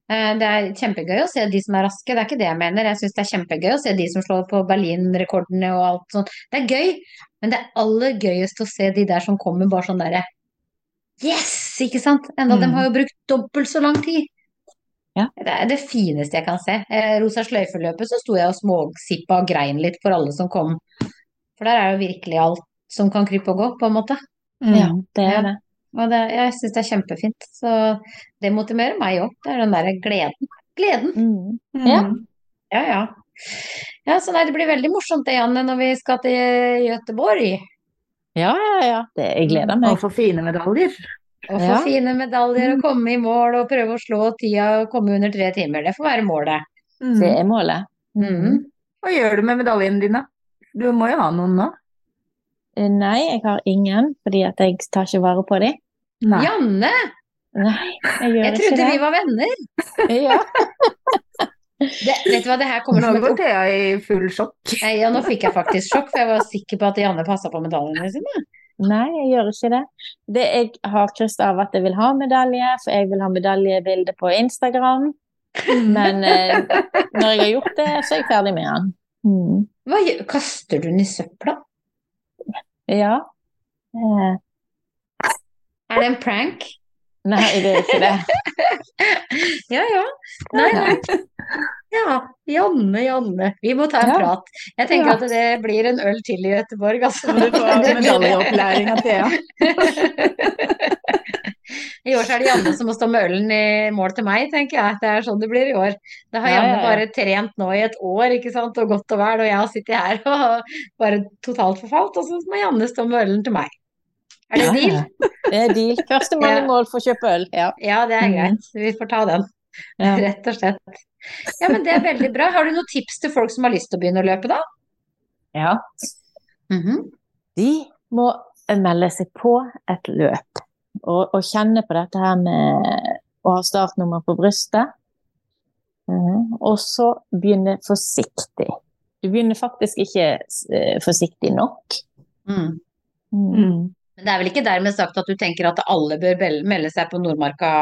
Speaker 2: Eh, Det er kjempegøy å se de som er raske, det er ikke det jeg mener. Jeg syns det er kjempegøy å se de som slår på Berlin-rekordene og alt sånt. Det er gøy, men det er aller gøyest å se de der som kommer bare sånn derre Yes! Ikke sant? Enda de
Speaker 1: Mm.
Speaker 2: har jo brukt dobbelt så lang tid.
Speaker 3: Ja.
Speaker 2: Det er det fineste jeg kan se. Eh, Rosa sløyfe-løpet så sto jeg og småsippa og grein litt for alle som kom. For der er jo virkelig alt som kan krype og gå, på en måte.
Speaker 1: Mm.
Speaker 3: Ja, det er det.
Speaker 2: Og det, jeg syns det er kjempefint. Så det motiverer meg òg. Det er den derre gleden. Gleden!
Speaker 3: Mm. Ja.
Speaker 1: Mm.
Speaker 2: Ja, ja. Ja, så nei, det blir veldig morsomt det, Janne, når vi skal til Gøteborg.
Speaker 3: Ja, ja, ja. Det, jeg gleder
Speaker 1: Og
Speaker 3: meg.
Speaker 1: for fine medaljer.
Speaker 2: Og få
Speaker 3: Ja.
Speaker 2: fine medaljer og komme i mål og prøve å slå tida og komme under tre timer. Det får være målet.
Speaker 1: Mm.
Speaker 3: Det er målet.
Speaker 2: Mm.
Speaker 1: Hva gjør du med medaljene dine? Du må jo ha noen nå?
Speaker 3: Eh, Nei, jeg har ingen, fordi at jeg tar ikke vare på dem.
Speaker 1: Nei.
Speaker 2: Janne!
Speaker 3: Nei, jeg gjør
Speaker 2: Jeg
Speaker 3: ikke
Speaker 2: trodde
Speaker 3: det.
Speaker 2: vi var venner.
Speaker 3: Ja.
Speaker 2: Det, vet du hva, det her kommer
Speaker 1: Nå
Speaker 2: som et
Speaker 1: går
Speaker 2: opp...
Speaker 1: Thea i full sjokk.
Speaker 2: Nei, Ja, nå fikk jeg faktisk sjokk, for jeg var sikker på at Janne passa på medaljene sine.
Speaker 3: Nei, jeg gjør ikke det. Det jeg har kryss av at jeg vil ha medalje, for jeg vil ha medaljebilde på Instagram.
Speaker 2: Mm.
Speaker 3: Men eh, når jeg har gjort det, så er jeg ferdig med den. Mm.
Speaker 2: Hva gjør Kaster du den i søpla?
Speaker 3: Ja. Eh,
Speaker 2: Er det en prank?
Speaker 3: nei, det er ikke det.
Speaker 2: Ja, ja. Nei, nei. Ja, Janne, Janne. Vi må ta en
Speaker 3: Ja.
Speaker 2: prat. Jeg tenker
Speaker 3: Ja.
Speaker 2: at det blir en øl til i Gøteborg, altså.
Speaker 1: Må du få medaljeopplæring av Thea?
Speaker 2: I år så er det Janne som må stå med ølen i mål til meg, tenker jeg. Det er sånn det blir i år. Da har
Speaker 3: Ja,
Speaker 2: Janne
Speaker 3: ja, ja.
Speaker 2: bare trent nå i et år, ikke sant, og godt og vel, og jeg har sittet her og bare totalt forfalt, og så må Janne stå med ølen til meg. Er det
Speaker 3: Ja,
Speaker 2: en deal?
Speaker 3: ja. Det er deal. Førstemann i
Speaker 2: Ja.
Speaker 3: mål for å kjøpe øl. Ja.
Speaker 2: Ja, det er
Speaker 3: Mhm.
Speaker 2: greit. Vi får ta den,
Speaker 3: Ja.
Speaker 2: rett og slett. Ja, men det er veldig bra. Har du noen tips til folk som har lyst til å begynne å løpe, da?
Speaker 3: ja. Mhm. De må melde seg på et løp og, og kjenne på dette her med å ha startnummer på brystet. Mhm. Og så begynne forsiktig. Du begynner faktisk ikke eh, forsiktig nok.
Speaker 2: Mhm.
Speaker 1: Mm.
Speaker 2: Men det er vel ikke dermed sagt at du tenker at alle bør bel- melde seg på Nordmarka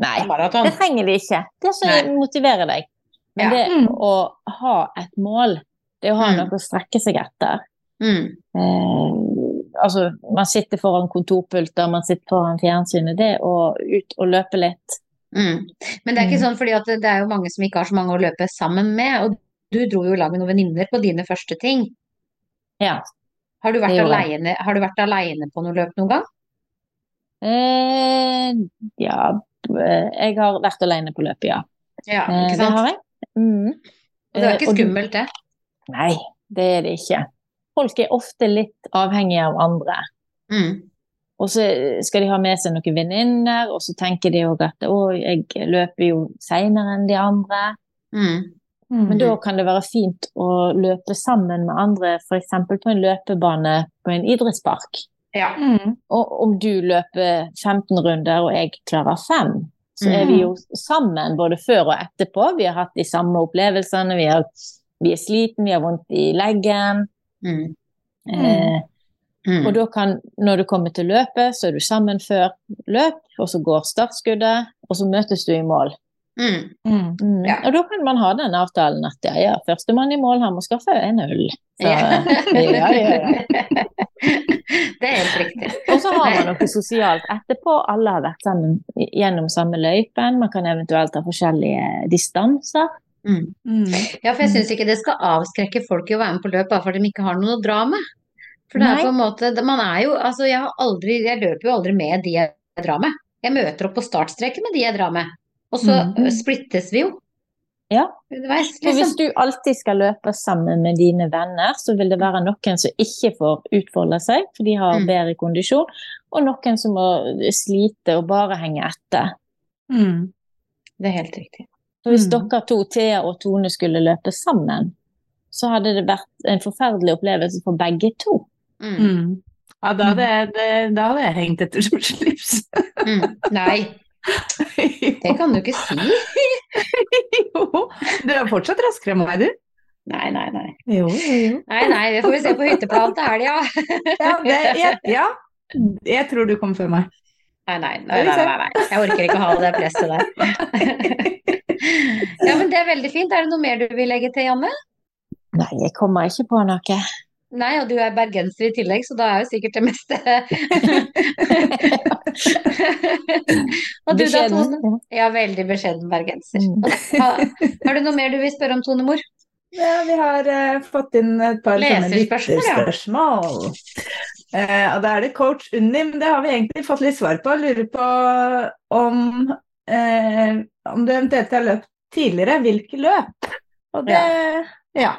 Speaker 3: Nei,
Speaker 2: maraton?
Speaker 3: det trenger de ikke. Det som
Speaker 2: Nei.
Speaker 3: motiverer deg.
Speaker 2: Ja.
Speaker 3: Men det
Speaker 1: Mm.
Speaker 3: å ha et mål, det å ha
Speaker 2: Mm.
Speaker 3: noe å strekke seg etter
Speaker 2: Mm.
Speaker 3: eh, Altså, man sitter foran kontorpulter, man sitter foran fjernsynet. Det å ut og løpe litt
Speaker 2: Mm. Men det er ikke
Speaker 3: Mm.
Speaker 2: sånn, fordi at det er jo mange som ikke har så mange å løpe sammen med. Og du dro jo i lag med noen venninner på dine første ting.
Speaker 3: Ja.
Speaker 2: Har du vært
Speaker 3: Det gjorde jeg.
Speaker 2: aleine har du vært alene på noe løp noen gang?
Speaker 3: Eh, ja b- eh, Jeg har vært alene på løpet, ja.
Speaker 2: Ja,
Speaker 3: Eh,
Speaker 2: ikke
Speaker 3: Det
Speaker 2: sant?
Speaker 3: har jeg. Mm.
Speaker 2: Og det
Speaker 3: Eh,
Speaker 2: er ikke
Speaker 3: og du-
Speaker 2: skummelt, det.
Speaker 3: Nei, det er det ikke. Folk er ofte litt avhengige av andre.
Speaker 2: Mm.
Speaker 3: Og så skal de ha med seg noen venninner, og så tenker de jo at å, jeg løper jo seinere enn de andre.
Speaker 2: Mm.
Speaker 3: Men da kan det være fint å løpe sammen med andre, f.eks. på en løpebane på en idrettspark.
Speaker 2: Ja.
Speaker 1: Mm.
Speaker 3: Og om du løper 15 runder og jeg klarer 5, så er vi jo sammen både før og etterpå. Vi har hatt de samme opplevelsene, vi er, vi er sliten, vi har vondt i leggen.
Speaker 2: Mm.
Speaker 3: Eh,
Speaker 2: Mm.
Speaker 3: og da kan, når du kommer til løpet, så er du sammen før løp, og så går startskuddet, og så møtes du i mål.
Speaker 2: Mm.
Speaker 1: Mm.
Speaker 2: Ja.
Speaker 3: Og da kan man ha den avtalen at ja, ja, førstemann i mål, han må skaffe en øl. Så, ja, ja, ja.
Speaker 2: Det er helt riktig.
Speaker 3: Og så har man noe sosialt etterpå. Alle har vært sammen gjennom samme løypen. Man kan eventuelt ha forskjellige distanser.
Speaker 2: Mm.
Speaker 1: Mm.
Speaker 2: Ja, for jeg syns ikke det skal avskrekke folk i å være med på løp bare fordi de ikke har noe å dra med. For det
Speaker 3: Nei.
Speaker 2: er på en måte Man er jo Altså, jeg har aldri Jeg løper jo aldri med de jeg drar med. Jeg møter opp på startstreken med de jeg drar med. Og så
Speaker 3: Mhm.
Speaker 2: ø, splittes vi jo.
Speaker 3: Ja.
Speaker 2: Underveis,
Speaker 3: For hvis
Speaker 2: liksom.
Speaker 3: du alltid skal løpe sammen med dine venner, så vil det være noen som ikke får utfolde seg, for de har
Speaker 2: Mm.
Speaker 3: bedre kondisjon, og noen som må slite og bare henge etter.
Speaker 1: Mm.
Speaker 2: Det er helt riktig.
Speaker 3: Så hvis
Speaker 1: Mm.
Speaker 3: dere to, Thea og Tone, skulle løpe sammen, så hadde det vært en forferdelig opplevelse for begge to.
Speaker 2: Mm.
Speaker 1: Mm. Ja, da hadde, jeg- det, da hadde jeg hengt etter som slips.
Speaker 2: Mm. Nei, det kan du ikke si.
Speaker 1: jo, du er fortsatt raskere enn meg, du.
Speaker 2: Nei, nei, nei.
Speaker 1: Jo, jo, jo.
Speaker 2: Nei, nei, det får vi se på hytteplanen til helga.
Speaker 1: Ja, det, jeg, ja, jeg tror du kom før meg.
Speaker 2: Nei, nei, nei, nei, nei, nei. Jeg orker ikke å ha det presset der. Ja, men det er veldig fint. Er det noe mer du vil legge til, Janne?
Speaker 3: Nei, jeg kommer ikke på noe.
Speaker 2: Nei, og du er bergenser i tillegg, så da er jo sikkert det meste Og du da,
Speaker 3: Beskjeden.
Speaker 2: Tone? Ja, veldig beskjeden bergenser.
Speaker 3: Mm.
Speaker 2: Ha- Har du noe mer du vil spørre om, Tone Mor?
Speaker 1: Ja, vi har eh, fått inn et par sånne
Speaker 2: Leserspørsmål, ja.
Speaker 1: lytterspørsmål. Eh, og da er det coach Unnim. Det har vi egentlig fått litt svar på. Lurer på om, eh, om du eventuelt har løpt tidligere. Hvilke løp? Og det Ja.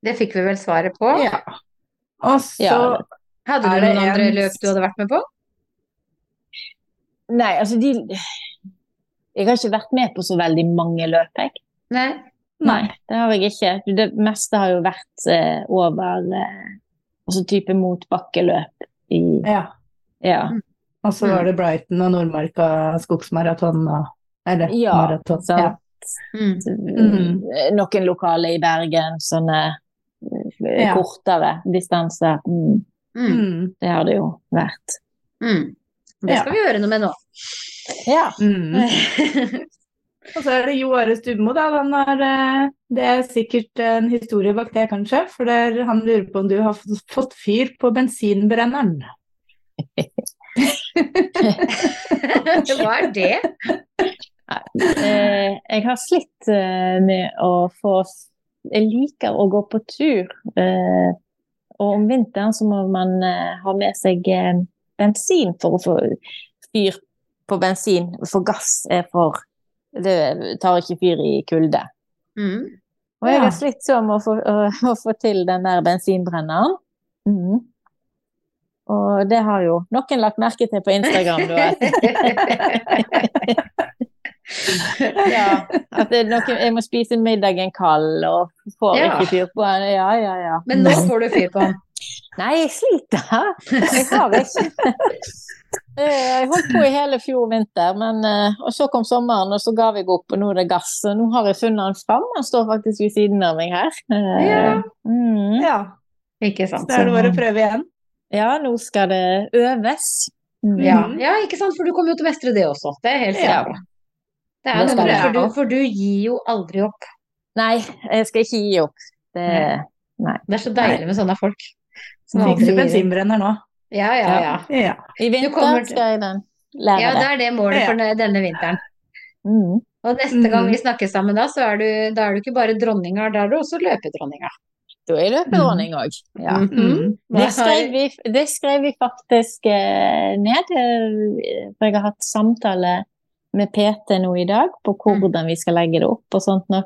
Speaker 2: Det fikk vi vel svaret på.
Speaker 1: ja. Og så
Speaker 3: Ja,
Speaker 2: Hadde du
Speaker 1: Er det
Speaker 2: noen andre
Speaker 1: en-
Speaker 2: løp du hadde vært med på?
Speaker 3: Nei, altså de Jeg har ikke vært med på så veldig mange løp, jeg.
Speaker 2: Nei.
Speaker 3: Nei, det har jeg ikke. Det meste har jo vært eh, over eh, Altså type motbakkeløp i
Speaker 1: Ja.
Speaker 3: Ja.
Speaker 1: Og så var det Brighton og Nordmarka skogsmaraton og Eller
Speaker 3: Ja,
Speaker 1: maraton.
Speaker 3: sant.
Speaker 1: Ja.
Speaker 2: Mm.
Speaker 1: Mm.
Speaker 3: Altså, eh, Noen lokale i Bergen, sånne eh,
Speaker 1: Ja.
Speaker 3: kortere distanser. Mm,
Speaker 2: Mm.
Speaker 1: Mm.
Speaker 3: det har det jo vært.
Speaker 2: Mm. Det skal vi gjøre noe med nå.
Speaker 3: Ja.
Speaker 1: Mm. Og så er det Jo Are Stubmo, da. Han har, eh, det er sikkert en historie bak det, kanskje. For det er, han lurer på om du har f- fått fyr på bensinbrenneren.
Speaker 2: Hva er det?
Speaker 3: Eh, jeg har slitt eh, med å få Jeg liker å gå på tur. Eh, og om vinteren så må man eh, ha med seg eh, bensin for å få fyr på bensin. For gass er for Det tar ikke fyr i kulde.
Speaker 2: Mm.
Speaker 3: Og jeg
Speaker 1: Ja.
Speaker 3: har slitt så med å få, å, å få til den der bensinbrenneren. Mhm. Og det har jo noen lagt merke til på Instagram, da. Ja, at det er noe, jeg må spise middagen kald og får
Speaker 2: Ja.
Speaker 3: ikke fyr på den. Ja, ja, ja.
Speaker 2: Men
Speaker 1: Mm.
Speaker 2: nå får du fyr på han.
Speaker 3: Nei, jeg sliter. Jeg har ikke Eh, Jeg holdt på i hele fjor vinter, men, eh, og så kom sommeren, og så ga jeg opp, og nå er det gass. Og nå har jeg funnet den fram. Den står faktisk ved siden av meg her. Eh,
Speaker 2: Ja.
Speaker 3: Mm.
Speaker 1: Ja,
Speaker 2: Ikke
Speaker 1: så
Speaker 2: sant?
Speaker 1: er det bare å prøve igjen.
Speaker 3: ja, nå skal det øves. Mm.
Speaker 2: Mm-hmm. Ja. ja, ikke sant? For du kommer jo til å mestre det også. Det er helt
Speaker 1: Ja.
Speaker 2: sikkert. Det er
Speaker 3: Det
Speaker 2: noe
Speaker 3: skal
Speaker 2: med
Speaker 3: jeg
Speaker 2: for,
Speaker 3: ha.
Speaker 2: du, for du gir jo aldri opp.
Speaker 3: Nei, jeg skal ikke gi opp. Det,
Speaker 2: Det er så deilig med sånne folk. Som
Speaker 1: Fikk
Speaker 2: aldri
Speaker 1: du
Speaker 2: gir opp.
Speaker 1: bensinbrenner nå?
Speaker 2: Ja, ja, ja.
Speaker 1: Ja.
Speaker 3: I
Speaker 2: Du kommer
Speaker 3: vinter
Speaker 2: til-
Speaker 3: skal jeg den- lære
Speaker 2: Ja, Mm-hmm. det
Speaker 3: det.
Speaker 2: er det målet for denne vinteren.
Speaker 3: Mm.
Speaker 2: Og neste gang
Speaker 1: Mhm.
Speaker 2: vi snakkes sammen da, så er du, da er du ikke bare dronninga, da er du også løpedronninga.
Speaker 3: Da er jeg løpedronning òg. Mm. Ja.
Speaker 2: Mm.
Speaker 1: Mm.
Speaker 2: Hva
Speaker 3: Det skrev,
Speaker 2: har-
Speaker 3: vi, det skrev vi faktisk eh, ned, eh, for jeg har hatt samtale med PT nå i dag på
Speaker 2: Mm.
Speaker 3: hvordan vi skal legge det opp og sånt noe.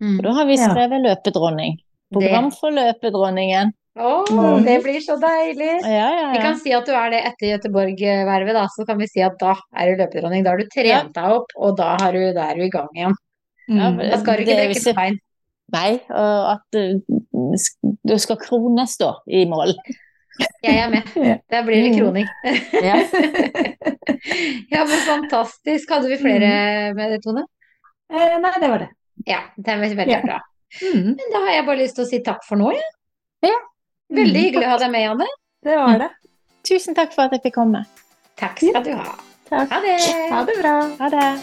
Speaker 3: Og da har vi
Speaker 1: Ja.
Speaker 3: skrevet løpedronning.
Speaker 2: Det-
Speaker 3: Program for løpedronningen.
Speaker 2: Å, det blir så deilig!
Speaker 3: Ja, ja,
Speaker 2: Vi
Speaker 3: ja.
Speaker 2: kan si at du er det etter Göteborg-vervet, da. Så kan vi si at da er du løpedronning. Da har du trent deg opp, og da, har du, da er du i gang igjen.
Speaker 3: Ja,
Speaker 1: Mm.
Speaker 2: Da skal du
Speaker 3: Det
Speaker 2: ikke
Speaker 3: er
Speaker 2: brekke
Speaker 3: hvis-
Speaker 2: bein.
Speaker 3: Nei, og at eh, sk- du skal krones da i mål.
Speaker 2: Jeg er med.
Speaker 1: Ja.
Speaker 2: Da blir det
Speaker 3: Mm.
Speaker 2: kroning.
Speaker 3: Ja.
Speaker 2: Ja, men fantastisk. Hadde vi flere
Speaker 1: Mm.
Speaker 2: med det, Tone?
Speaker 1: Eh, Nei, det var det.
Speaker 2: Ja, det er veldig
Speaker 1: Ja.
Speaker 2: bra.
Speaker 1: Mm.
Speaker 2: Men da har jeg bare lyst til å si takk for nå, jeg. Veldig
Speaker 1: Mm.
Speaker 2: hyggelig å ha deg med, Janne.
Speaker 1: Det var det.
Speaker 3: Tusen takk for at jeg fikk komme.
Speaker 2: Takk skal du ha.
Speaker 1: Takk.
Speaker 2: Ha det.
Speaker 1: Ha det bra.
Speaker 3: Ha det.